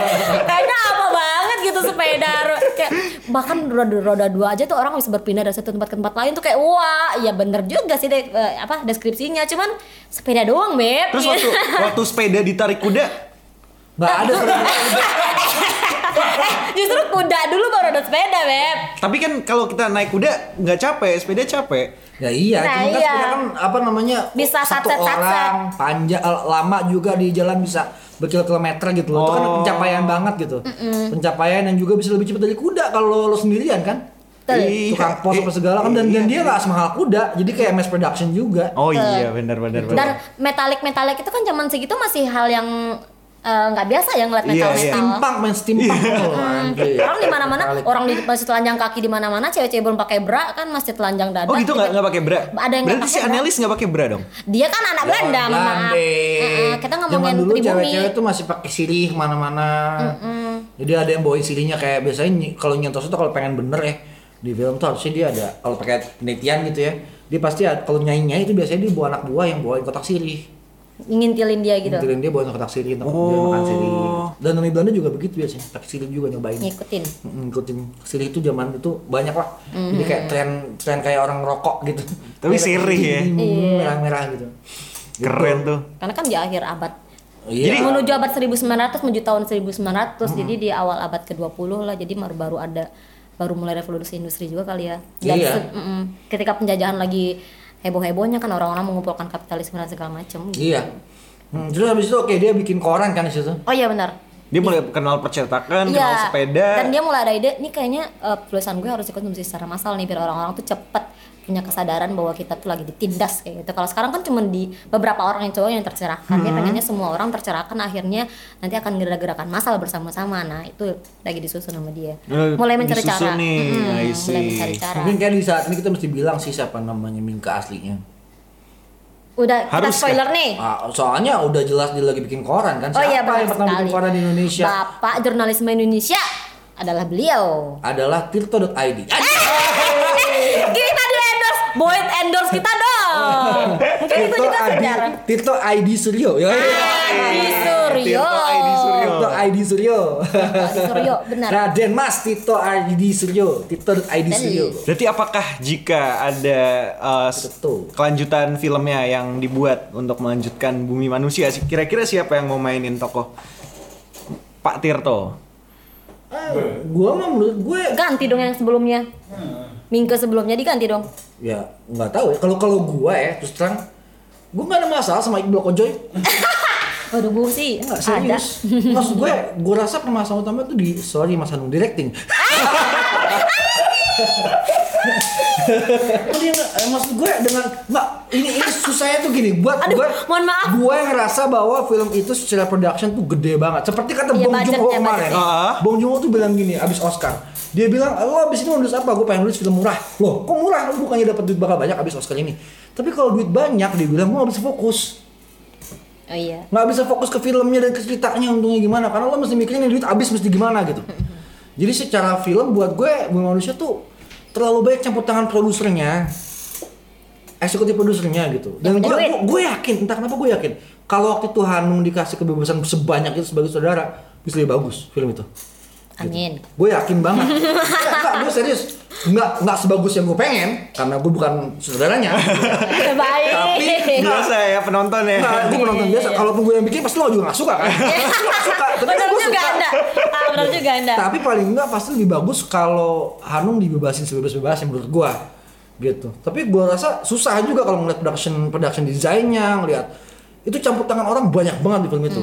S3: kayaknya apa banget gitu sepeda kayak bahkan roda, roda dua aja tuh orang bisa berpindah dari satu tempat ke tempat lain tuh kayak wah ya bener juga sih deh, eh, apa deskripsinya cuman sepeda doang beb
S1: Terus waktu waktu sepeda ditarik kuda,
S2: Nggak ada sebenarnya.
S3: eh justru kuda dulu baru ada sepeda beb
S1: tapi kan kalau kita naik kuda nggak capek, sepeda capek.
S2: Ya iya,
S3: Nah,
S2: cuma kan
S3: iya.
S2: sebenarnya kan apa namanya
S3: Bisa
S2: satu
S3: satset, satset.
S2: orang panjang eh, lama juga di jalan bisa berkilometer gitu loh. Itu kan
S1: Oh.
S2: pencapaian banget gitu. Pencapaian yang juga bisa lebih cepat dari kuda kalau lo sendirian kan.
S3: Betul.
S1: Iya,
S2: Tukang pos apa segala kan dan, dan dia nggak semahal kuda, jadi kayak mass production juga.
S1: Oh iya benar benar
S3: Dan
S1: benar.
S3: metalik metalik itu kan zaman segitu masih hal yang eh, nggak biasa ya ngeliat
S1: Iya, iya.
S3: metal metal.
S2: Steampunk main steampunk. Oh, anjir.
S3: Orang di mana-mana, orang di masih telanjang kaki di mana-mana, cewek-cewek belum pakai bra kan masih telanjang dada.
S1: Oh gitu nggak nggak pakai bra?
S3: Ada yang nggak
S1: Berarti si
S3: pakai bra.
S1: analis nggak pakai bra dong?
S3: Dia kan anak Belanda,
S2: Jalan
S3: mohon maaf.
S2: Belanda.
S3: Heeh, kita ngomongin
S2: Zaman dulu
S3: pribumi.
S2: cewek-cewek tuh masih pakai sirih mana-mana. Jadi ada yang bawain sirihnya kayak biasanya ny- kalau nyentos itu kalau pengen bener ya di film tuh harusnya dia ada kalau pakai penelitian gitu ya. Dia pasti ada- kalau nyanyi-nyanyi itu biasanya dia bawa anak buah yang bawain kotak sirih.
S3: Ngintilin dia gitu.
S2: Ngintilin dia bawain kotak sirih, untuk dia makan sirih. Dan di Belanda juga begitu biasanya, pakai sirih juga nyobain.
S3: Ngikutin.
S2: Mm, Ngikutin sirih itu zaman itu banyak lah.
S3: Mhm.
S2: Jadi kayak tren tren kayak orang rokok gitu.
S1: Tapi sirih ya?
S3: Iya.
S2: Mm, Merah-merah gitu.
S1: Keren tuh.
S3: Karena kan di akhir abad
S2: Iya. Hmm.
S1: Jadi-
S3: menuju abad 1900 menuju tahun 1900 jadi di awal abad ke-20 lah jadi baru baru ada baru mulai revolusi industri juga kali ya dan
S2: Iya.
S3: se- mm-mm. ketika penjajahan lagi heboh-hebohnya kan orang-orang mengumpulkan kapitalisme dan segala macam
S2: Iya. Hmm, terus habis itu oke dia bikin koran kan di situ.
S3: oh iya benar
S1: Dia mulai kenal percetakan,
S3: Iya.
S1: kenal sepeda.
S3: Dan dia mulai ada ide, nih kayaknya eh, tulisan gue harus dikonsumsi secara massal nih biar orang-orang tuh cepet punya kesadaran bahwa kita tuh lagi ditindas kayak gitu. Kalau sekarang kan cuma di beberapa orang yang cowok yang tercerahkan. Dia pengennya semua orang tercerahkan akhirnya nanti akan gerak-gerakan massal bersama-sama. Nah, itu lagi disusun sama dia.
S1: Eh,
S3: mulai mencari
S1: disusun
S3: cara.
S1: nih, I
S3: Mm-mm, mulai
S1: see.
S3: mencari cara.
S2: Mungkin kayak di saat ini kita mesti bilang sih siapa namanya Mingke aslinya.
S3: Udah kita
S1: Haruskah?
S3: spoiler nih.
S2: Ah, soalnya udah jelas dia lagi bikin koran kan.
S3: Eh. Oh
S2: Siapa
S3: iya
S2: yang
S3: benar
S2: pertama
S3: sekali.
S2: bikin koran di Indonesia
S3: Bapak jurnalisme Indonesia adalah beliau.
S2: adalah tirto.id.
S3: Kan
S2: Anjir,
S3: kita di endorse, Boyd endorse kita dong. Mungkin itu juga
S2: Adi-
S3: sejarah. Ah.
S2: Tirto ID Suryo. Ya.
S1: Iya,
S3: Adi Suryo.
S1: Tirto Adi Suryo.
S2: Tirto ID Suryo.
S3: Adi Suryo, benar.
S2: Raden Mas Tito ID Suryo, tirto.id Suryo.
S1: Berarti apakah jika ada uh, s-
S2: Betul.
S1: kelanjutan filmnya yang dibuat untuk melanjutkan Bumi Manusia, sih, kira-kira siapa yang mau mainin tokoh Pak Tirto?
S2: Ah, gua mah menurut gue
S3: Ganti dong yang sebelumnya.
S1: Hmm.
S3: Mingke sebelumnya diganti dong.
S2: ya nggak tahu ya. Kalau kalau gua ya terus terang gua nggak ada masalah sama Iqbal Kojoy.
S3: Waduh gue sih
S2: Enggak
S3: ada.
S2: serius. Maksud gue, gue rasa permasalahan utama tuh di sorry Mas Hanung directing. Kan dia nggak- eh, maksud gue dengan mbak ini ini susahnya tuh gini buat
S3: Aduh,
S2: gue
S3: mohon maaf.
S2: gue ngerasa bahwa film itu secara production tuh gede banget seperti kata
S3: Iya,
S2: Bong Joon Ho
S3: budgetnya,
S2: kemarin
S1: budgetnya.
S2: Bong Joon Ho tuh bilang gini abis Oscar dia bilang lo abis ini mau nulis apa gue pengen nulis film murah loh kok murah lo bukannya dapat duit bakal banyak abis Oscar ini tapi kalau duit banyak dia bilang gue gak bisa fokus
S3: Oh iya.
S2: nggak bisa fokus ke filmnya dan ke ceritanya untungnya gimana karena lo mesti mikirin ini duit habis mesti gimana gitu Jadi secara film buat gue Bumi Manusia tuh terlalu banyak campur tangan produsernya, eksekutif produsernya gitu. Dan
S3: Yang
S2: gue
S3: punya duit.
S2: gue- gue yakin, entah kenapa gue yakin kalau waktu itu Hanung dikasih kebebasan sebanyak itu sebagai saudara bisa lebih bagus film itu. Gitu.
S3: Amin.
S2: Gue yakin banget. Enggak, enggak, gue serius. Enggak, enggak sebagus yang gue pengen karena gue bukan saudaranya.
S3: Baik. Iya.
S2: Tapi-
S1: Biasa ya penonton ya.
S2: Nah, gue penonton biasa. Kalaupun gue yang bikin pasti lo juga gak suka kan?
S3: Iya.
S2: Lo nggak suka. Tapi
S3: benar
S2: gue
S3: juga
S2: suka.
S3: anda. Ah, benar juga anda.
S2: Tapi paling enggak pasti lebih bagus kalau Hanung dibebasin sebebas-bebasnya menurut gua gitu. Tapi gua rasa susah juga kalau ngeliat production production desainnya, ngeliat itu campur tangan orang banyak banget di film
S3: Hmm,
S2: itu.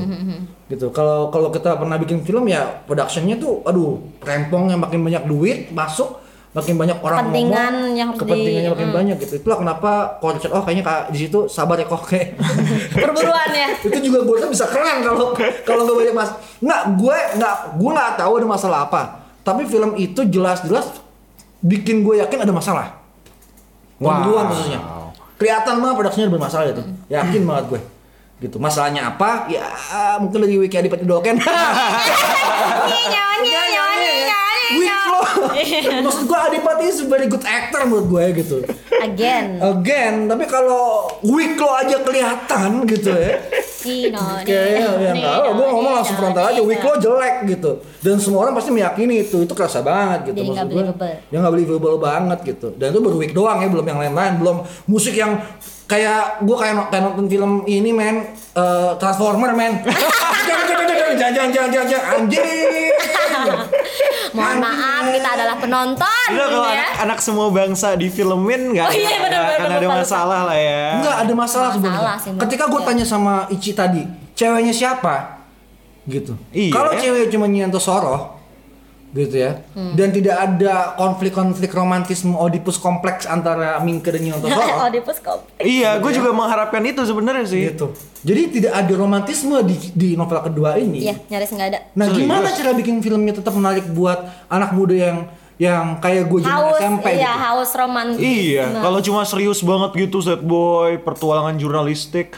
S2: Gitu. Kalau kalau kita pernah bikin film ya productionnya tuh aduh, rempong yang makin banyak duit masuk makin banyak orang
S3: Kepentingan
S2: ngomong,
S3: yang harus di-
S2: kepentingannya makin
S3: hmm.
S2: banyak gitu. Itulah kenapa konsep oh kayaknya kak di situ sabar ya kok kayak
S3: Perburuan ya.
S2: itu juga gue tuh bisa keren kalau kalau nggak banyak mas nggak gue nggak gue nggak tahu ada masalah apa tapi film itu jelas-jelas bikin gue yakin ada masalah pembunuhan khususnya kelihatan banget produksinya ada masalah itu
S3: Hmm.
S2: yakin banget gue gitu masalahnya apa ya mungkin dari wiki adipati doken
S3: Nyanyi, nyanyi, nyanyi, nyanyi.
S2: Wih, lo. maksud gue adipati is a very good actor menurut gue gitu
S3: Again.
S2: again tapi kalau weak lo aja kelihatan gitu ya
S3: Nino.
S2: Kayaknya ya enggak, gue ngomong langsung frontal aja, weak lo jelek gitu Dan semua orang pasti meyakini itu, itu kerasa banget gitu
S3: Jadi nggak
S2: gue,
S3: believable.
S2: Ya nggak believable banget gitu Dan itu baru weak doang ya, belum yang lain-lain Belum musik yang kayak, gue kayak, kayak nonton film ini men eh, Transformer men Jangan, jangan, jangan, jangan, jangan, jangan, jangan, anjing
S3: Mohon maaf,
S2: eh.
S3: kita adalah penonton.
S1: Gila kalau
S3: ya.
S1: anak, anak semua bangsa difilmin nggak
S3: Oh iya, bener,
S1: nggak
S3: bener,
S1: akan ada
S3: bener.
S1: masalah lah ya.
S2: Enggak ada masalah sebenarnya.
S3: Masalah sih, menurut
S2: Ketika gue
S3: gue.
S2: tanya sama Ici tadi, ceweknya siapa? Gitu.
S1: Iya.
S2: Kalau cewek cuma nyentuh soroh, gitu ya.
S3: Hmm.
S2: Dan tidak ada konflik-konflik romantisme Oedipus kompleks antara Mingke dan Nyanto Soroh.
S3: Oedipus Complex.
S1: Iya, gue juga mengharapkan itu sebenarnya sih.
S2: gitu. Jadi tidak ada romantisme di, di novel kedua ini.
S3: Iya, nyaris nggak ada.
S2: Nah,
S1: Serius?
S2: gimana cara bikin filmnya tetap menarik buat anak muda yang yang kayak gue zaman
S3: Haus,
S2: SMP
S3: iya,
S2: gitu.
S3: haus romantis.
S1: Iya,
S3: Nah,
S1: kalau cuma serius banget gitu set boy, pertualangan jurnalistik.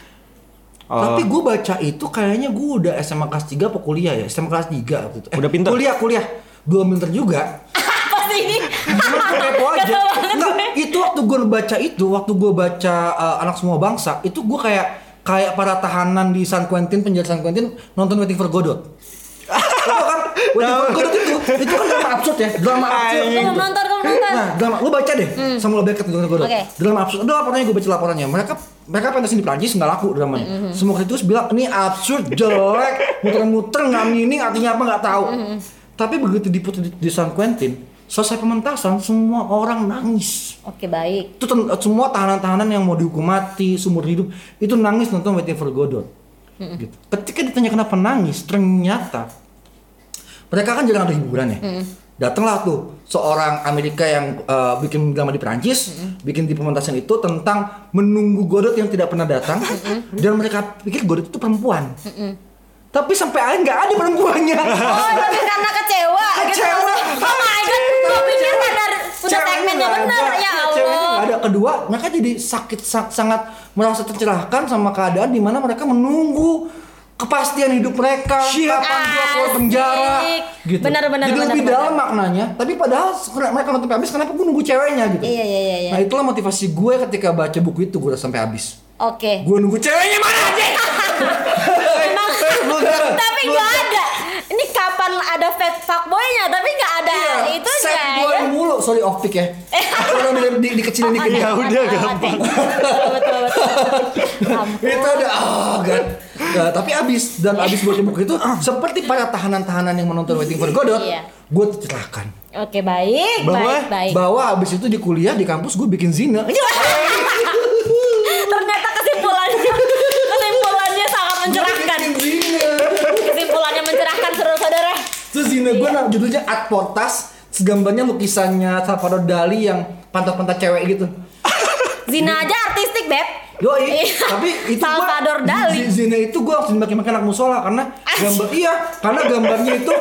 S1: Eh,
S2: Tapi gue baca itu kayaknya gue udah SMA kelas 3 apa kuliah ya? SMA kelas 3 waktu itu. Eh,
S1: Udah pinter?
S2: Kuliah, kuliah. Belum pinter juga.
S3: apa sih ini?
S2: Cuma gue kepo aja.
S3: Kesel banget
S2: Enggak, itu waktu gue baca itu, waktu gue baca uh, Anak Semua Bangsa, itu gue kayak kayak para tahanan di San Quentin, penjara San Quentin nonton Waiting for Godot. itu kan Waiting for Godot itu, itu kan drama absurd ya, drama absurd.
S3: Kamu belum nonton, kamu belum nonton.
S2: Nah, drama lu baca deh Samuel Beckett dengan Godot.
S3: Oke.
S2: Drama absurd. Ada laporannya gue baca laporannya. Mereka mereka pentas di Prancis nggak laku dramanya. Semua kritikus bilang ini absurd, jelek, muter-muter nggak meaning artinya apa nggak tahu. Tapi begitu diputar di, di San Quentin, selesai pementasan semua orang nangis.
S3: Oke, baik.
S2: Itu ten- semua tahanan-tahanan yang mau dihukum mati, sumur hidup, itu nangis nonton Waiting for Godot. Gitu. Ketika ditanya kenapa nangis, ternyata mereka kan jarang ada hiburan ya. Datanglah tuh seorang Amerika yang eh, bikin drama di Perancis, bikin di pementasan itu tentang menunggu Godot yang tidak pernah datang dan mereka pikir Godot itu perempuan. Tapi sampai akhir nggak ada perempuannya.
S3: Oh, tapi karena kecewa,
S2: Kecewa.
S3: gitu. Oh my god, gue pikir sadar udah
S2: Ceweknya
S3: segmennya
S2: nggak
S3: benar
S2: ada,
S3: ya
S2: ceweknya
S3: Allah.
S2: nggak ada kedua mereka jadi sakit sa- sangat merasa tercerahkan sama keadaan di mana mereka menunggu kepastian hidup mereka kapan gua keluar penjara
S3: Asik.
S2: gitu
S3: Ah, Benar, benar,
S2: jadi
S3: benar,
S2: lebih
S3: benar.
S2: dalam maknanya tapi padahal sekarang mereka nonton sampai habis kenapa gue nunggu ceweknya gitu
S3: Iya, iya, iya, iya.
S2: nah itulah motivasi gue ketika baca buku itu gue udah sampai habis
S3: Oke.
S2: gue nunggu ceweknya mana aja
S3: Emang tapi nggak ada. Ini kapan ada fat fuckboy-nya tapi nggak ada itu
S2: Iya,
S3: ya.
S2: set gue mulu sorry off pick ya Sorry, di, di, dikecilin dikit
S1: Ya udah, gampang.
S3: Betul betul betul. Ampun.
S2: itu ada oh god Nah, tapi abis dan abis baca buku itu seperti para tahanan-tahanan yang menonton Waiting for Godot
S3: Ah. Iya.
S2: gue tercerahkan
S3: Oke, baik,
S1: Bahwa-
S3: baik, baik. Iya.
S2: bahwa abis itu di kuliah di kampus gue bikin zina
S3: Ternyata kesimpulannya kesimpulannya sangat mencerahkan.
S2: bikin zina
S3: Kesimpulannya mencerahkan saudara-saudara.
S2: terus zina gue nah, judulnya Adportas gambarnya lukisannya Salvador Dali yang pantat-pantat cewek gitu
S3: Zina aja artistik, Beb.
S2: Yoi,
S3: Iya.
S2: tapi itu gua-
S3: Salvador Dali.
S2: zi- Zina itu gue harus dimaki-maki anak musola karena gambar iya, karena gambarnya itu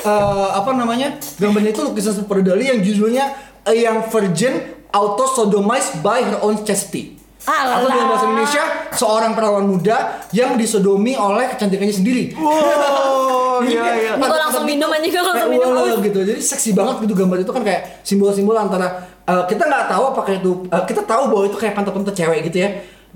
S2: eh, apa namanya? Gambarnya itu lukisan Salvador Dali yang judulnya A Young Virgin Auto Sodomized by Her Own Chastity. Atau dalam bahasa
S3: Alah.
S1: Eh,
S2: Indonesia, seorang perawan muda yang disodomi oleh kecantikannya sendiri.
S1: Wow, Wow,
S2: Iya,
S1: gila, gila.
S3: Gua langsung minum aja, gua langsung
S2: Kayak
S3: minum.
S2: wala gitu. Jadi seksi banget gitu gambar itu kan kayak simbol-simbol antara eh, kita nggak tahu apakah itu eh, kita tahu bahwa itu kayak pantat-pantat cewek gitu ya.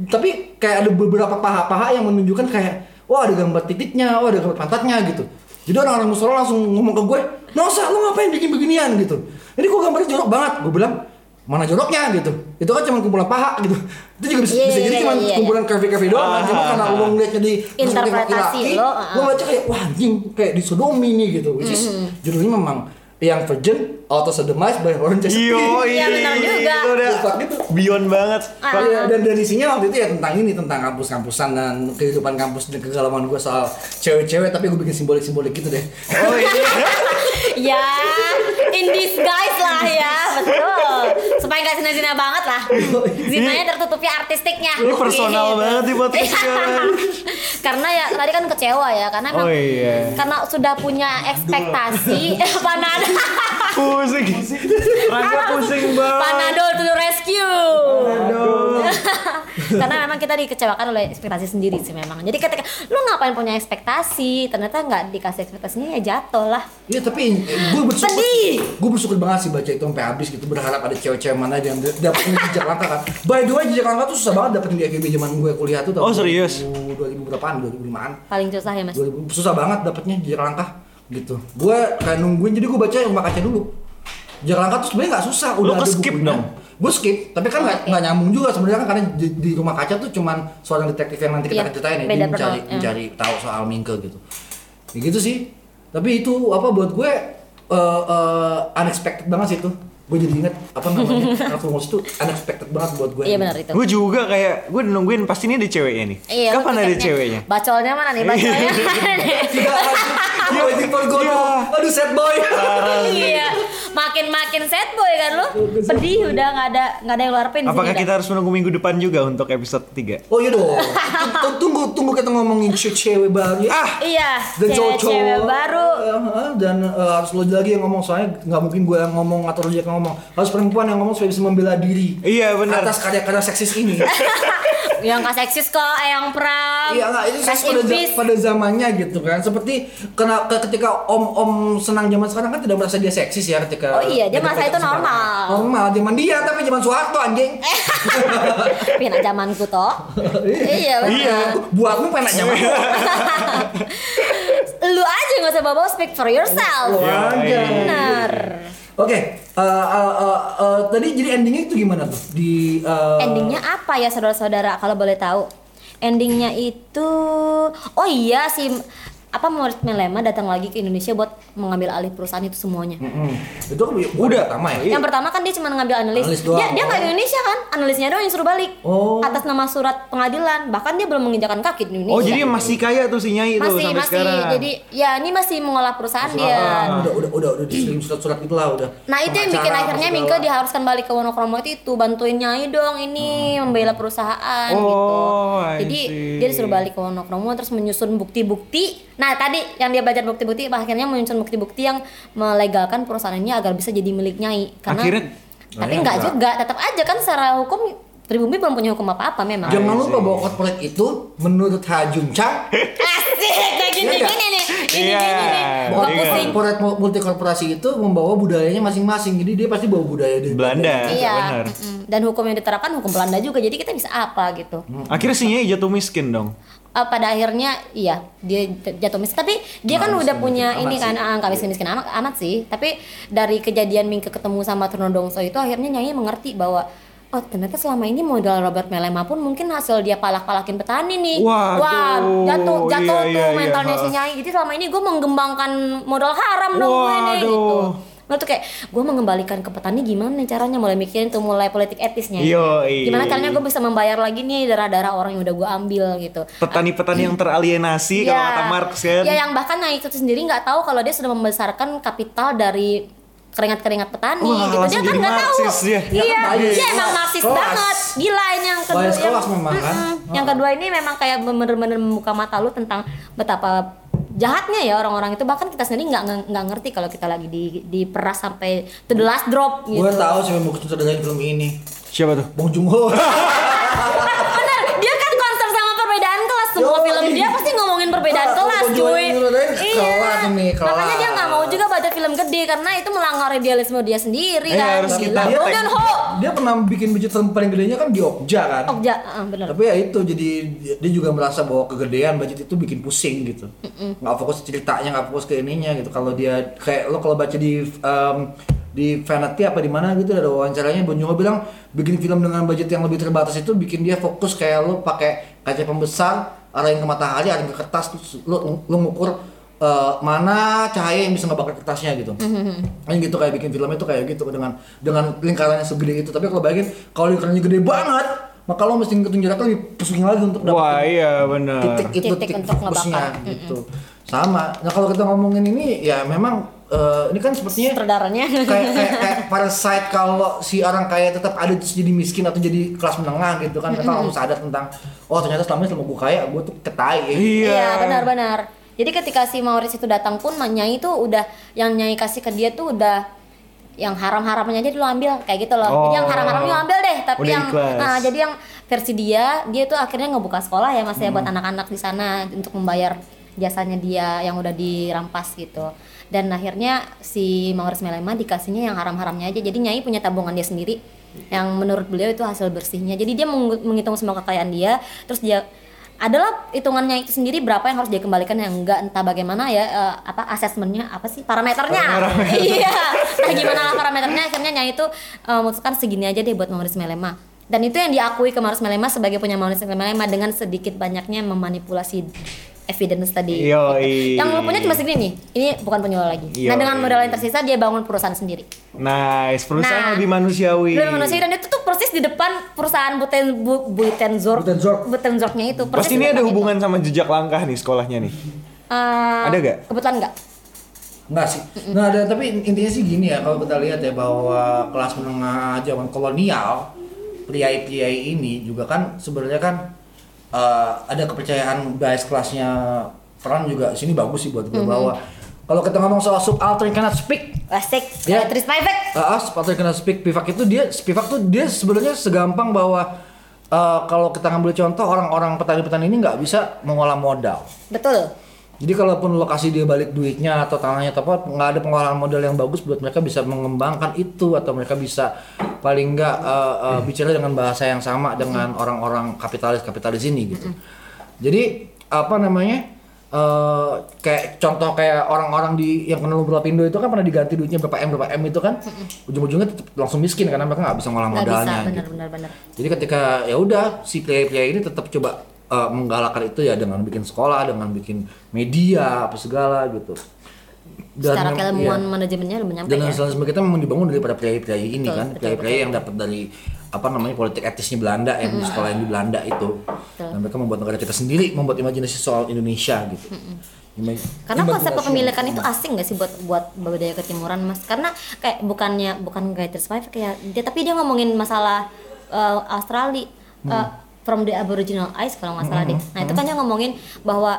S2: Tapi kayak ada beberapa paha-paha yang menunjukkan kayak wah ada gambar titiknya, wah ada gambar pantatnya gitu. Jadi orang-orang musola langsung ngomong ke gue, Nosa lu ngapain bikin beginian gitu. Jadi gue gambarnya jorok banget. Gue bilang mana joroknya gitu. Itu kan cuma kumpulan paha gitu. Itu juga bisa,
S3: Iya,
S2: bisa
S3: iya,
S2: jadi
S3: iya,
S2: cuma
S3: iya, iya.
S2: kumpulan curvy-curvy doang. kan. Cuma karena lu ngeliatnya di perspektif
S3: Interpretasi lo, ah.
S2: gua baca kayak wah anjing kayak disodomi nih gitu which is judulnya memang yang virgin auto sodomized by Warren Chastity
S1: Yo,
S3: Iya, benar juga.
S1: Itu udah
S2: Fuck gitu.
S1: beyond banget.
S3: Ah.
S1: Fuck.
S2: Iya, dan dan isinya waktu itu ya tentang ini tentang kampus-kampusan dan kehidupan kampus dan kegalauan gue soal cewek-cewek tapi gue bikin simbolik-simbolik gitu deh
S1: Oh iya.
S3: ya in disguise lah ya betul supaya nggak zina-zina banget lah zinanya tertutupi artistiknya Iya.
S1: Ini personal banget nih podcast sekarang.
S3: karena ya tadi kan kecewa ya karena emang
S1: Oh iya.
S3: karena sudah punya ekspektasi Eh, panado
S1: Pusing. Rangga pusing banget.
S3: Ah. panado to rescue
S1: Aduh.
S3: karena memang kita dikecewakan oleh ekspektasi sendiri sih memang jadi ketika lu ngapain punya ekspektasi ternyata nggak dikasih ekspektasinya ya jatuh lah
S2: Iya tapi gue bersyukur
S3: Sedih.
S2: Gue bersyukur banget sih baca itu sampai habis gitu Berharap ada cewek-cewek mana aja yang dapetin jejak langkah kan By the way jejak langkah tuh susah banget dapetin di AGB zaman gue kuliah tuh tahun
S1: Oh, serius?
S2: 2000 2000 berapaan, 2005an
S3: paling susah ya mas
S2: 2000 susah banget dapatnya jarak langkah gitu gue kayak nungguin jadi gue baca yang kaca dulu jarak langkah tuh sebenarnya nggak susah udah ada
S1: ke-skip
S2: bukunya.
S1: dong?
S2: gue skip tapi kan nggak nggak nyambung juga sebenarnya kan karena di, di rumah kaca tuh cuman seorang detektif yang nanti kita
S3: Iya,
S2: akan ceritain ya dia
S3: beda
S2: mencari
S3: personal, ya.
S2: mencari tahu soal Mingke gitu ya gitu sih tapi itu apa buat gue eh, eh, unexpected banget sih itu gue jadi inget apa namanya Transformers itu unexpected banget buat gue
S3: iya benar itu
S1: Gue juga kayak gue nungguin pasti ini ada ceweknya nih.
S3: Iya, lu
S1: Kapan ada
S3: tiketnya.
S1: ceweknya?
S3: Bacolnya mana nih? Bacolnya mana nih?
S2: tidak I'm waiting for Godot.
S1: Iya.
S2: aduh sad boy
S3: iya, makin makin sad boy kan lu. Pedih udah nggak ada nggak ada yang luar pin.
S1: Apakah kita harus menunggu minggu depan juga untuk episode 3?
S2: Oh iya dong. Tunggu- Tunggu tunggu kita ngomongin ce- cewek baru. Ah,
S3: Iya,
S2: dan
S3: cewek-cewek
S2: cowok.
S3: baru.
S2: Eh, dan eh, harus lo lagi yang ngomong soalnya nggak mungkin gue yang ngomong atau lo aja yang ngomong. Harus perempuan yang ngomong supaya bisa membela diri.
S1: Iya, benar.
S2: Atas karya-karya seksis ini.
S3: yang gak seksis kok, eh, yang pram.
S2: Iya nggak itu
S3: Rest in
S2: pada, za-
S3: peace.
S2: pada zamannya gitu kan. Seperti kena ke- ketika om-om senang zaman sekarang kan tidak merasa dia seksis ya ketika.
S3: Oh iya, dia
S2: ketika
S3: merasa itu
S2: sekarang.
S3: normal.
S2: Normal zaman dia ya, tapi zaman Soeharto anjing.
S3: Pina zamanku toh. iya
S2: Eh,
S3: benar.
S2: Buatmu penak zaman.
S3: Lu aja nggak usah bawa speak for yourself. Benar.
S2: Oke, eh, eh, eh, eh, tadi jadi endingnya itu gimana tuh di
S1: Iya.
S2: eh,
S3: Endingnya apa ya saudara-saudara kalau boleh tahu? Endingnya itu oh iya si apa murid Melema datang lagi ke Indonesia buat mengambil alih perusahaan itu semuanya.
S2: Mm-mm. itu kan udah pertama ya.
S1: Iya.
S3: Yang pertama kan dia cuma ngambil analis.
S2: Analis doang.
S3: Dia dia nggak di Indonesia kan? Analisnya doang yang suruh balik.
S2: Oh.
S3: Atas nama surat pengadilan. Bahkan dia belum menginjakan kaki di Indonesia.
S1: Oh, jadi masih kaya tuh si Nyai tuh
S3: iya. masih
S1: sampai
S3: masih
S1: sekarang.
S3: jadi ya ini masih mengolah perusahaan dia.
S2: Ah, udah udah udah udah dikirim surat-surat gitu lah udah.
S3: Nah itu yang bikin
S2: Pengacara,
S3: akhirnya
S2: apa
S3: Mingke
S2: segala.
S3: diharuskan balik ke Wonokromo itu, itu bantuin Nyai dong ini membela perusahaan gitu.
S1: Hmm. Oh, I
S3: Jadi
S1: see.
S3: dia disuruh balik ke Wonokromo terus menyusun bukti-bukti. Nah tadi yang dia belajar bukti-bukti akhirnya menyusun bukti-bukti yang melegalkan perusahaannya agar bisa jadi milik Nyai. Karena
S1: Akhirnya-
S3: tapi nggak juga, tetap aja kan secara hukum Pribumi belum punya hukum apa-apa memang.
S2: Jangan lupa bahwa corporate itu menurut Hajun Chang
S3: Asik kayak gini
S2: Iya,
S3: gini nih, gini
S1: Iya.
S3: gini nih.
S1: Bahwa
S3: Gua
S1: dia-
S3: pusing.
S2: corporate mu- multi korporasi itu membawa budayanya masing-masing. Jadi dia pasti bawa budaya dari
S1: Belanda.
S3: Iya.
S1: Benar.
S3: mm-mm. Dan hukum yang diterapkan hukum Belanda juga. Jadi kita bisa apa gitu.
S1: Hmm. Akhirnya si Nyai jatuh miskin dong.
S3: Eh, pada akhirnya iya dia j- jatuh miskin tapi dia kan udah punya ini kan ah, nggak
S1: Iya.
S3: miskin miskin amat, amat sih tapi dari kejadian Mingke ketemu sama Tronodongso itu akhirnya Nyai mengerti bahwa oh ternyata selama ini modal Robert Melema pun mungkin hasil dia palak-palakin petani nih
S1: Waduh,
S3: jatuh jatuh
S1: iya,
S3: tuh
S1: iya,
S3: mentalnya
S1: iya,
S3: si
S1: ha.
S3: Nyai jadi selama ini gue menggembangkan modal haram dong gue nih gitu
S1: Waduh.
S3: Lalu tuh kayak gue mengembalikan ke petani gimana caranya mulai mikirin tuh mulai politik etisnya
S1: Yoi.
S3: gimana caranya gue bisa membayar lagi nih darah-darah orang yang udah gue ambil gitu
S1: Petani-petani yang teralienasi kalau
S3: Iya.
S1: kata Marx kan.
S3: Iya, yang bahkan Naik itu sendiri nggak tahu kalau dia sudah membesarkan kapital dari keringat-keringat petani
S1: Wah,
S3: gitu. Dia
S1: langsung
S3: kan
S1: jadi
S3: nggak tahu.
S1: Marxis dia.
S2: Dia
S3: Iya,
S2: kan bias
S3: dia emang
S2: kelas.
S3: marxis
S2: Kelas.
S3: banget. Gila ini yang kedua.
S2: Bias
S3: yang-
S2: kelas memang kan.
S3: Mm-mm. Yang kedua ini memang kayak bener-bener membuka mata lu tentang betapa jahatnya ya orang-orang itu bahkan kita sendiri nggak nggak ngerti kalau kita lagi di diperas sampai to the last drop gitu.
S2: Gue tahu siapa yang mau sutradarain film ini.
S1: Siapa tuh?
S2: Bong Joon Ho.
S3: Bener, dia kan konser sama perbedaan kelas semua
S2: Yoi.
S3: film dia pasti ngomongin perbedaan
S2: iya. Ah,
S3: kelas
S2: Bong Joon Ho
S3: cuy. Iya.
S2: yang sutradarain kelas
S3: film gede karena itu melanggar idealisme dia sendiri
S1: Eh,
S3: kan.
S1: harus
S3: Gila.
S1: kita
S3: Bro
S1: tag.
S3: dan Ho.
S2: Dia pernah bikin budget film paling gedenya kan di Okja kan.
S3: Okja, ah, bener.
S2: Tapi ya itu jadi dia- dia juga merasa bahwa kegedean budget itu bikin pusing gitu. Nggak fokus ke ceritanya, nggak fokus ke ininya gitu. Kalau dia kayak lo kalau baca di em, di Vanity apa di mana gitu ada wawancaranya Bong Joon-ho bilang bikin film dengan budget yang lebih terbatas itu bikin dia fokus kayak lo pakai kaca pembesar, arahin ke matahari, arahin ke kertas terus lo lo ngukur eh, mana cahaya yang bisa ngebakar kertasnya gitu.
S3: Mhm,
S2: Kan gitu kayak bikin filmnya tuh kayak gitu dengan dengan lingkarannya segede itu. Tapi kalau bayangin kalau lingkarannya gede banget, maka lo mesti ngikutin jaraknya lebih pusing lagi untuk
S1: Wah
S2: dapetin
S1: iya bener.
S2: titik itu
S3: Titik untuk Mhm.
S2: fokusnya
S3: ngebakar.
S2: gitu. Sama. Nah, kalau kita ngomongin ini ya memang eh, ini kan sepertinya
S3: Sutradaranya.
S2: kayak kayak, kayak parasite kalau si orang kaya tetap ada terus jadi miskin atau jadi kelas menengah gitu kan
S3: Mhm.
S2: kita harus sadar tentang oh ternyata selama ini selama gue kaya gue tuh ketai ya gitu.
S1: Iya.
S3: Iya, benar-benar. Jadi ketika si Maurice itu datang pun Ma- Nyai itu udah yang Nyai kasih ke dia tuh udah yang haram-haramnya aja dulu ambil kayak gitu loh. Jadi yang
S1: Oh.
S3: haram-haramnya lo ambil deh, tapi
S1: Udah
S3: yang
S1: ikhlas.
S3: nah, jadi yang versi dia, dia tuh akhirnya ngebuka sekolah ya Mas ya buat anak-anak di sana untuk membayar jasanya dia yang udah dirampas gitu. Dan akhirnya si Maurice Melema dikasihnya yang haram-haramnya aja. Jadi Nyai punya tabungan dia sendiri yang menurut beliau itu hasil bersihnya. Jadi dia meng- menghitung semua kekayaan dia, terus dia adalah hitungannya itu sendiri berapa yang harus dia kembalikan yang enggak entah bagaimana ya eh, apa asesmennya apa sih parameternya iya nah gimana lah parameternya akhirnya Nyai itu eh, memutuskan segini aja deh buat Maurice Melema dan itu yang diakui ke Maurice Melema sebagai punya Maurice Melema dengan sedikit banyaknya memanipulasi evidence tadi
S1: Yoi.
S3: yang lo punya cuma segini nih ini bukan punya lo lagi nah
S1: Yoi.
S3: dengan modal yang tersisa dia bangun perusahaan sendiri
S1: Nice, perusahaan
S3: Nah,
S1: lebih manusiawi.
S3: Belum manusia dan itu tuh persis di depan perusahaan Buten Bu, Butenzorg
S2: Butenzorg.
S3: Butenzorgnya itu
S1: Pasti
S3: persis di
S1: ini ada
S3: depan itu.
S1: hubungan sama jejak langkah nih sekolahnya nih.
S3: Eh,
S1: Ada nggak?
S3: Kebetulan nggak.
S2: Enggak sih. Nah, ada, tapi intinya sih gini ya kalau kita lihat ya bahwa kelas menengah zaman kolonial priai-priai ini juga kan sebenarnya kan eh, ada kepercayaan bias kelasnya peran juga sini bagus sih buat gue bahwa kalau kita ngomong soal subaltern cannot speak
S3: Asik.
S2: Ya.
S3: Yeah. Tris Pivek.
S2: Ah, sepatu kena speak Spivak itu dia Spivak tuh dia sebenarnya segampang bahwa eh, kalau kita ngambil contoh orang-orang petani-petani ini nggak bisa mengolah modal.
S3: Betul.
S2: Jadi kalaupun lokasi dia balik duitnya atau tanahnya tepat, nggak ada pengolahan modal yang bagus buat mereka bisa mengembangkan itu atau mereka bisa paling nggak eh, eh, bicara dengan bahasa yang sama dengan orang-orang kapitalis kapitalis ini gitu. Jadi apa namanya eh, kayak contoh kayak orang-orang di yang kena lumpuh lapindo itu kan pernah diganti duitnya berapa m berapa m itu kan ujung-ujungnya tetap langsung miskin karena mereka nggak bisa ngolah
S3: Nggak bisa.
S2: modalnya. gitu.
S3: Benar, benar, benar.
S2: Jadi ketika ya udah si pria-pria ini tetap coba uh, menggalakkan itu ya dengan bikin sekolah, dengan bikin media apa segala gitu.
S3: Secara
S2: mem-
S3: keilmuan
S2: iya.
S3: manajemennya lebih nyampe
S2: dengan
S3: ya.
S2: selanjutnya kita memang dibangun daripada pria-pria ini
S3: Betul,
S2: kan,
S3: betul,
S2: pria-pria yang dapat dari apa namanya politik etisnya Belanda yang sekolah yang di Belanda itu. Dan mereka membuat negara kita sendiri, membuat imajinasi soal Indonesia gitu. Ima-
S3: Karena konsep
S2: imajinasi.
S3: kepemilikan itu asing nggak sih buat buat budaya ketimuran mas? Karena kayak bukannya bukan kayak Tris Pivek ya, dia, tapi dia ngomongin masalah eh, Australia eh, from the Aboriginal Eyes kalau nggak salah deh. Nah itu kan dia ngomongin bahwa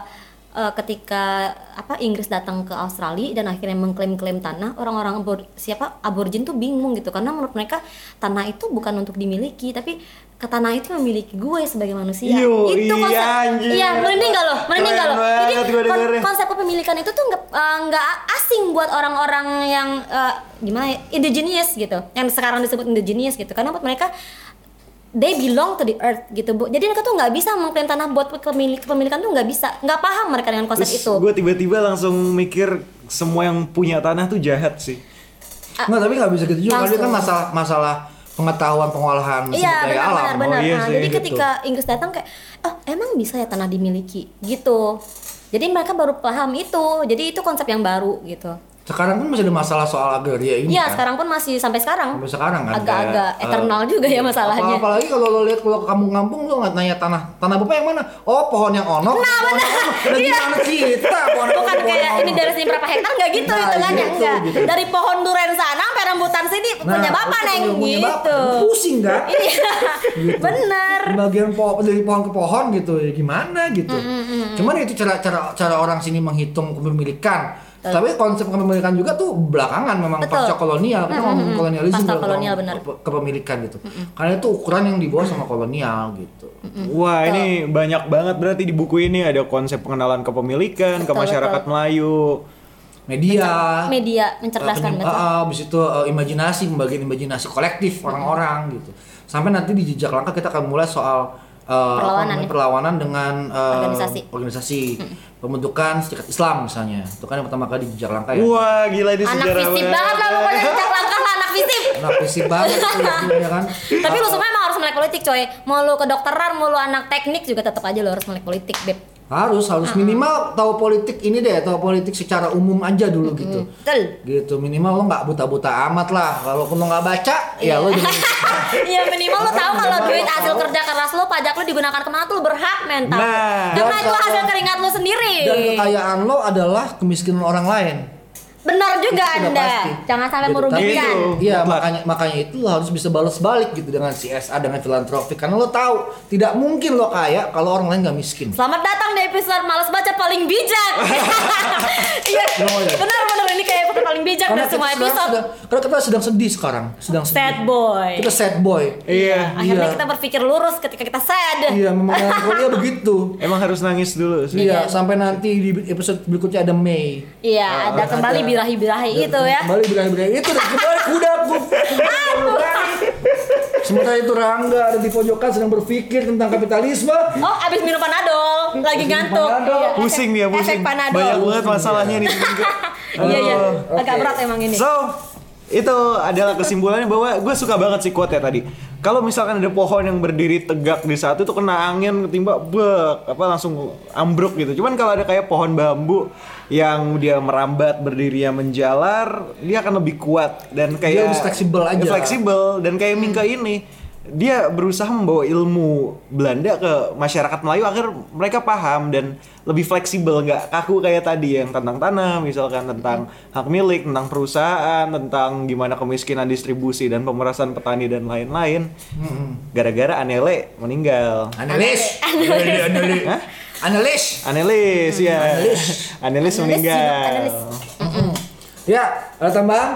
S3: eh, ketika apa Inggris datang ke Australia dan akhirnya mengklaim-klaim tanah orang-orang abor, siapa aborigin tuh bingung gitu karena menurut mereka tanah itu bukan untuk dimiliki tapi ke tanah itu memiliki gue sebagai manusia
S1: Yo,
S3: itu
S1: iya, anjing.
S3: iya merinding gak lo merinding
S1: Keren
S3: gak lo jadi
S1: banget gue
S3: kon-
S1: dengernya.
S3: konsep kepemilikan itu tuh nggak eh, nggak asing buat orang-orang yang eh, gimana ya, indigenous gitu yang sekarang disebut indigenous gitu karena buat mereka they belong to the earth gitu bu jadi mereka tuh nggak bisa mengklaim tanah buat kepemilik kepemilikan tuh nggak bisa nggak paham mereka dengan konsep
S1: Terus
S3: itu
S1: gue tiba-tiba langsung mikir semua yang punya tanah tuh jahat sih.
S2: Nggak, tapi nggak bisa gitu juga. Karena dia kan
S3: Langsung.
S2: masalah masalah pengetahuan pengolahan
S3: Iya
S2: sumber daya
S3: benar
S2: alam.
S3: benar benar.
S1: Oh, iya
S3: Nah,
S1: sih,
S3: jadi
S1: gitu.
S3: ketika Inggris datang kayak oh emang bisa ya tanah dimiliki gitu. Jadi mereka baru paham itu. Jadi itu konsep yang baru gitu.
S2: Sekarang kan masih ada masalah soal agraria ini
S3: Iya
S2: kan.
S3: sekarang pun masih sampai sekarang.
S2: Sampai sekarang kan.
S3: Agak-agak
S2: kayak,
S3: eternal
S2: eh,
S3: juga ya masalahnya.
S2: apa- Apalagi kalau lo lihat kalau kampung-kampung lo nggak nanya tanah tanah bapak yang mana? Oh pohon yang onok. Nah benar. Dan gimana kita pohon
S3: Iya. Bukan
S2: pohon
S3: kayak
S2: onok.
S3: ini dari sini berapa hektar nggak gitu
S2: Gitu, Nah,
S3: hitungannya
S2: gitu,
S3: enggak.
S2: gitu.
S3: Dari pohon duren sana sampai rambutan sini
S2: Nah,
S3: punya bapak
S2: itu
S3: neng
S2: punya bapak.
S3: gitu.
S2: Pusing kan?
S3: Iya bener.
S2: Gitu. bagian po dari pohon ke pohon gitu ya gimana gitu
S3: Mm,
S2: cuman itu cara cara cara orang sini menghitung kepemilikan tapi konsep kepemilikan juga tuh belakangan memang
S3: Betul. Mm,
S2: pasca kolonial kita ngomong kolonialisme
S3: Pasca
S2: bukan
S3: kolonial,
S2: ngomong
S3: benar. Mm,
S2: kepe- kepemilikan gitu karena itu ukuran yang dibawa sama kolonial gitu
S1: Wah ini banyak banget berarti di buku ini ada konsep pengenalan kepemilikan ke
S3: Betul,
S1: masyarakat
S3: betul.
S1: Melayu.
S2: media
S3: media mencerdaskan
S2: penyem-
S3: betul.
S2: ah, abis itu eh, imajinasi pembagian imajinasi kolektif orang-orang gitu sampai nanti di jejak langkah kita akan mulai soal eh, apa
S3: Perlawanan
S2: namanya,
S3: ya.
S2: perlawanan dengan eh,
S3: Organisasi.
S2: organisasi pembentukan serikat Islam misalnya itu kan yang pertama kali di jejak langkah ya
S1: Wah gila ini
S3: Iya. anak
S1: sejarah
S3: fisip banget lah pokoknya sejak langkah lah anak fisip
S2: nah prinsip banget tuh, itu, ya kan
S3: tapi lu semua emang harus melek politik coy mau lu kedokteran mau lu anak teknik juga tetap aja lu harus melek politik beb
S2: harus harus minimal tahu politik ini deh tahu politik secara umum aja dulu gitu
S3: betul
S2: gitu minimal lo nggak buta-buta amat lah walaupun lo nggak baca ya lo jangan
S3: Iya minimal lo tahu kalau
S2: Minimal
S3: duit
S2: lo
S3: hasil
S2: tahu.
S3: kerja keras lo pajak lo digunakan kemana tuh lo berhak mental
S1: Nah.
S2: Dan
S3: karena itu hasil
S2: kalau- gitu
S3: keringat lo sendiri
S2: dan kekayaan lo adalah kemiskinan orang lain
S3: benar juga
S2: Itu udah
S3: anda
S2: pasti.
S3: jangan sampai
S2: Gitu. Tapi
S3: merugikan
S1: itu.
S2: Iya
S1: Mutlak.
S2: makanya makanya itu lo harus bisa balas balik gitu dengan CSA dengan filantropik karena lo tahu tidak mungkin lo kaya kalau orang lain nggak miskin.
S3: Selamat datang di episode Males Baca Paling Bijak. Iya,
S2: Oh, iya.
S3: benar-benar ini kayak episode paling bijak
S2: Karena
S3: dari semua
S2: kita sekarang
S3: episode.
S2: sedang- karena kita sedang sedih sekarang, sedang sedih.
S3: Sad boy.
S2: Kita sad boy.
S1: Iya.
S3: Akhirnya
S2: Iya.
S3: kita berpikir lurus ketika kita sad.
S2: Iya, memang melankolia begitu.
S1: Emang harus nangis dulu sih.
S2: Iya, sampai nanti di episode berikutnya ada Mei. Ah,
S3: Iya, ada
S2: ada.
S3: kembali birahi-birahi itu ya.
S2: Kembali berakhir-berakhir itu dan kembali kuda bu. Sementara itu Rangga ada di pojokan sedang berpikir tentang kapitalisme.
S3: Oh, abis minum panadol, lagi ngantuk.
S2: Panadol.
S3: Iya, efek-
S1: Pusing dia, pusing.
S3: Efek panadol.
S1: Banyak banget masalahnya nih.
S3: Iya, iya.
S2: Oh,
S3: Agak
S2: oke.
S3: berat emang ini.
S1: So, itu adalah kesimpulannya bahwa gue suka banget sih quote ya tadi. Kalau misalkan ada pohon yang berdiri tegak di satu tuh kena angin ketimba bek apa langsung ambruk gitu. Cuman kalau ada kayak pohon bambu yang dia merambat berdirinya menjalar, dia akan lebih kuat dan kayak
S2: Dia lebih fleksibel aja.
S1: Dia fleksibel dan kayak Mingka ini dia berusaha membawa ilmu Belanda ke masyarakat Melayu agar mereka paham dan lebih fleksibel nggak kaku kayak tadi yang tentang tanah misalkan tentang hak milik tentang perusahaan tentang gimana kemiskinan distribusi dan pemerasan petani dan lain-lain Hmm. gara-gara Anele meninggal
S2: Analis. Analis. Analis.
S1: Hah?
S2: Analis.
S1: Anelis ya Anelis
S3: Analis,
S1: meninggal
S3: hidup analis.
S2: Ya, ada tambahan?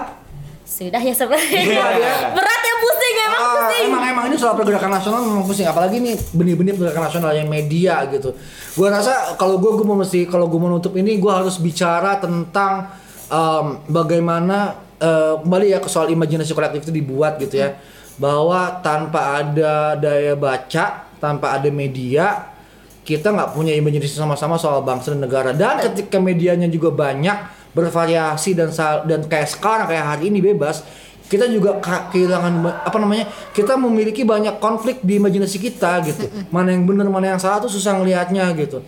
S3: Sudah ya sebenarnya.
S1: Iya, iya.
S3: Berat ya pusing emang
S2: Ah,
S3: pusing.
S2: emang emang ini soal pergerakan nasional memang pusing apalagi nih benih-benih pergerakan nasional yang media gitu gua rasa kalau gua gua mau mesti kalau gua mau nutup ini gua harus bicara tentang em, bagaimana eh, kembali ya ke soal imajinasi kolektif itu dibuat gitu ya bahwa tanpa ada daya baca tanpa ada media kita nggak punya imajinasi sama-sama soal bangsa dan negara dan ketika medianya juga banyak bervariasi dan sa- dan kayak sekarang kayak hari ini bebas kita juga ka- kehilangan ba- apa namanya kita memiliki banyak konflik di imajinasi kita gitu mana yang benar mana yang salah tuh susah ngelihatnya gitu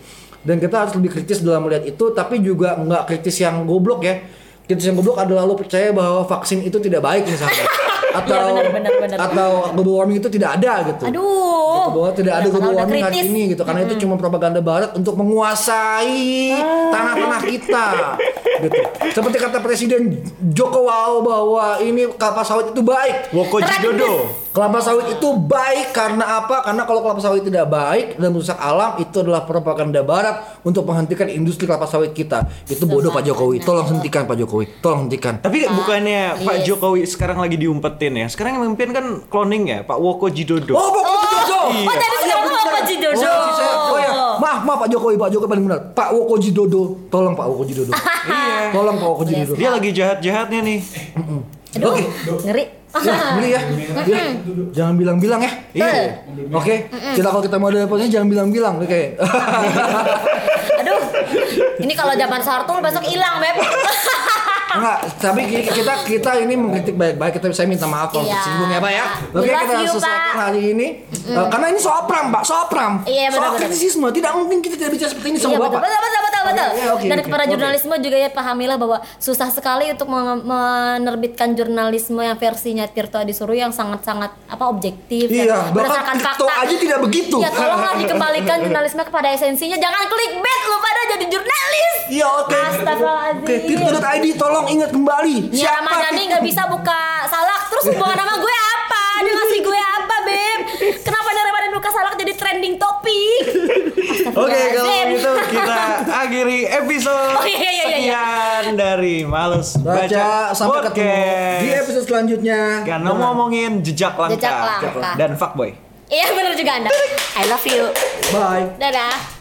S2: dan kita harus lebih kritis dalam melihat itu tapi juga nggak kritis yang goblok ya kritis yang goblok adalah lo percaya bahwa vaksin itu tidak baik misalnya atau
S3: Iya, benar, benar, benar.
S2: atau global warming itu tidak ada gitu
S3: Aduh.
S2: gitu, bahwa tidak ada
S3: Kenapa
S2: global
S3: udah
S2: warming hari
S3: Oh, kritis?
S2: ini gitu karena itu cuma propaganda barat untuk menguasai tanah-tanah kita gitu seperti kata presiden Joko Widodo bahwa ini kelapa sawit itu baik
S1: Woko Jidodo
S2: kelapa sawit itu baik karena apa karena kalau kelapa sawit tidak baik dan merusak alam itu adalah propaganda barat untuk menghentikan industri kelapa sawit kita itu bodoh Pak Jokowi tolong hentikan Pak Jokowi tolong hentikan
S1: Tapi bukannya Pak
S3: Yes.
S1: Jokowi sekarang lagi diumpetin ya? Sekarang yang memimpin kan cloning ya, Pak Woko Jidodo.
S2: Oh, Pak Jokowi.
S3: Oh, tadi sekarang lo apa Jidodo?
S2: Oh, saya- oh ya, maaf, maaf Pak Jokowi, Pak Jokowi paling benar. Pak Woko Jidodo, tolong Pak Woko Jidodo.
S1: Iya.
S2: tolong Pak Woko Jidodo.
S1: Dia lagi jahat-jahatnya nih.
S3: Aduh,
S2: Oke.
S3: ngeri.
S2: Ya, beli ya. Ya, Jangan bilang-bilang ya.
S1: Iya.
S2: Oke, kita kalau kita mau ada pokoknya jangan bilang-bilang, oke.
S3: Aduh. Ini kalau zaman Sartul besok hilang, Beb.
S2: Enggak, tapi ki- kita kita ini mengkritik baik-baik, tapi saya minta maaf kalau
S3: Iya.
S2: tersinggung ya Pak ya. Oke,
S3: We love
S2: kita
S3: you,
S2: selesaikan
S3: Pak.
S2: hari ini. Eh, karena ini sopram, Pak, sopram.
S3: Iya,
S2: Soal
S3: benar-benar.
S2: kritisisme, tidak mungkin kita tidak bicara seperti ini
S3: Iya
S2: sama
S3: betul,
S2: Bapak.
S3: betul, betul, betul, betul.
S2: Iya, oke,
S3: Dan
S2: oke,
S3: kepada
S2: oke.
S3: jurnalisme juga ya pahamilah bahwa susah sekali untuk menge- menerbitkan jurnalisme yang versinya Tirto Adi Suruh yang sangat-sangat apa objektif
S2: Iya,
S3: dan
S2: bahkan
S3: berdasarkan
S2: Tirto
S3: fakta.
S2: aja tidak begitu.
S3: Ya tolonglah dikembalikan jurnalisme kepada esensinya. Jangan clickbait lu pada jadi jurnalis.
S2: Iya oke.
S3: Astagfirullahaladzim.
S2: Oke, Tirto.id tolong ingat kembali.
S3: Nia Ya, Ramadhani nggak bisa buka salak terus hubungan sama gue apa? Dia ngasih gue apa, Beb? Kenapa Nia Ramadhani buka salak jadi trending topik?
S1: Oke, kalau
S3: Astagfirullahaladzim.
S1: gitu kita akhiri episode
S3: Oh, iya, iya, iya, iya.
S1: sekian dari Males Baca,
S2: Baca sampai ketemu di episode selanjutnya.
S1: Karena mau ngomongin jejak langkah,
S3: Jejak langkah.
S1: dan fuckboy.
S3: Iya bener juga Anda. I love you.
S2: Bye.
S3: Dadah.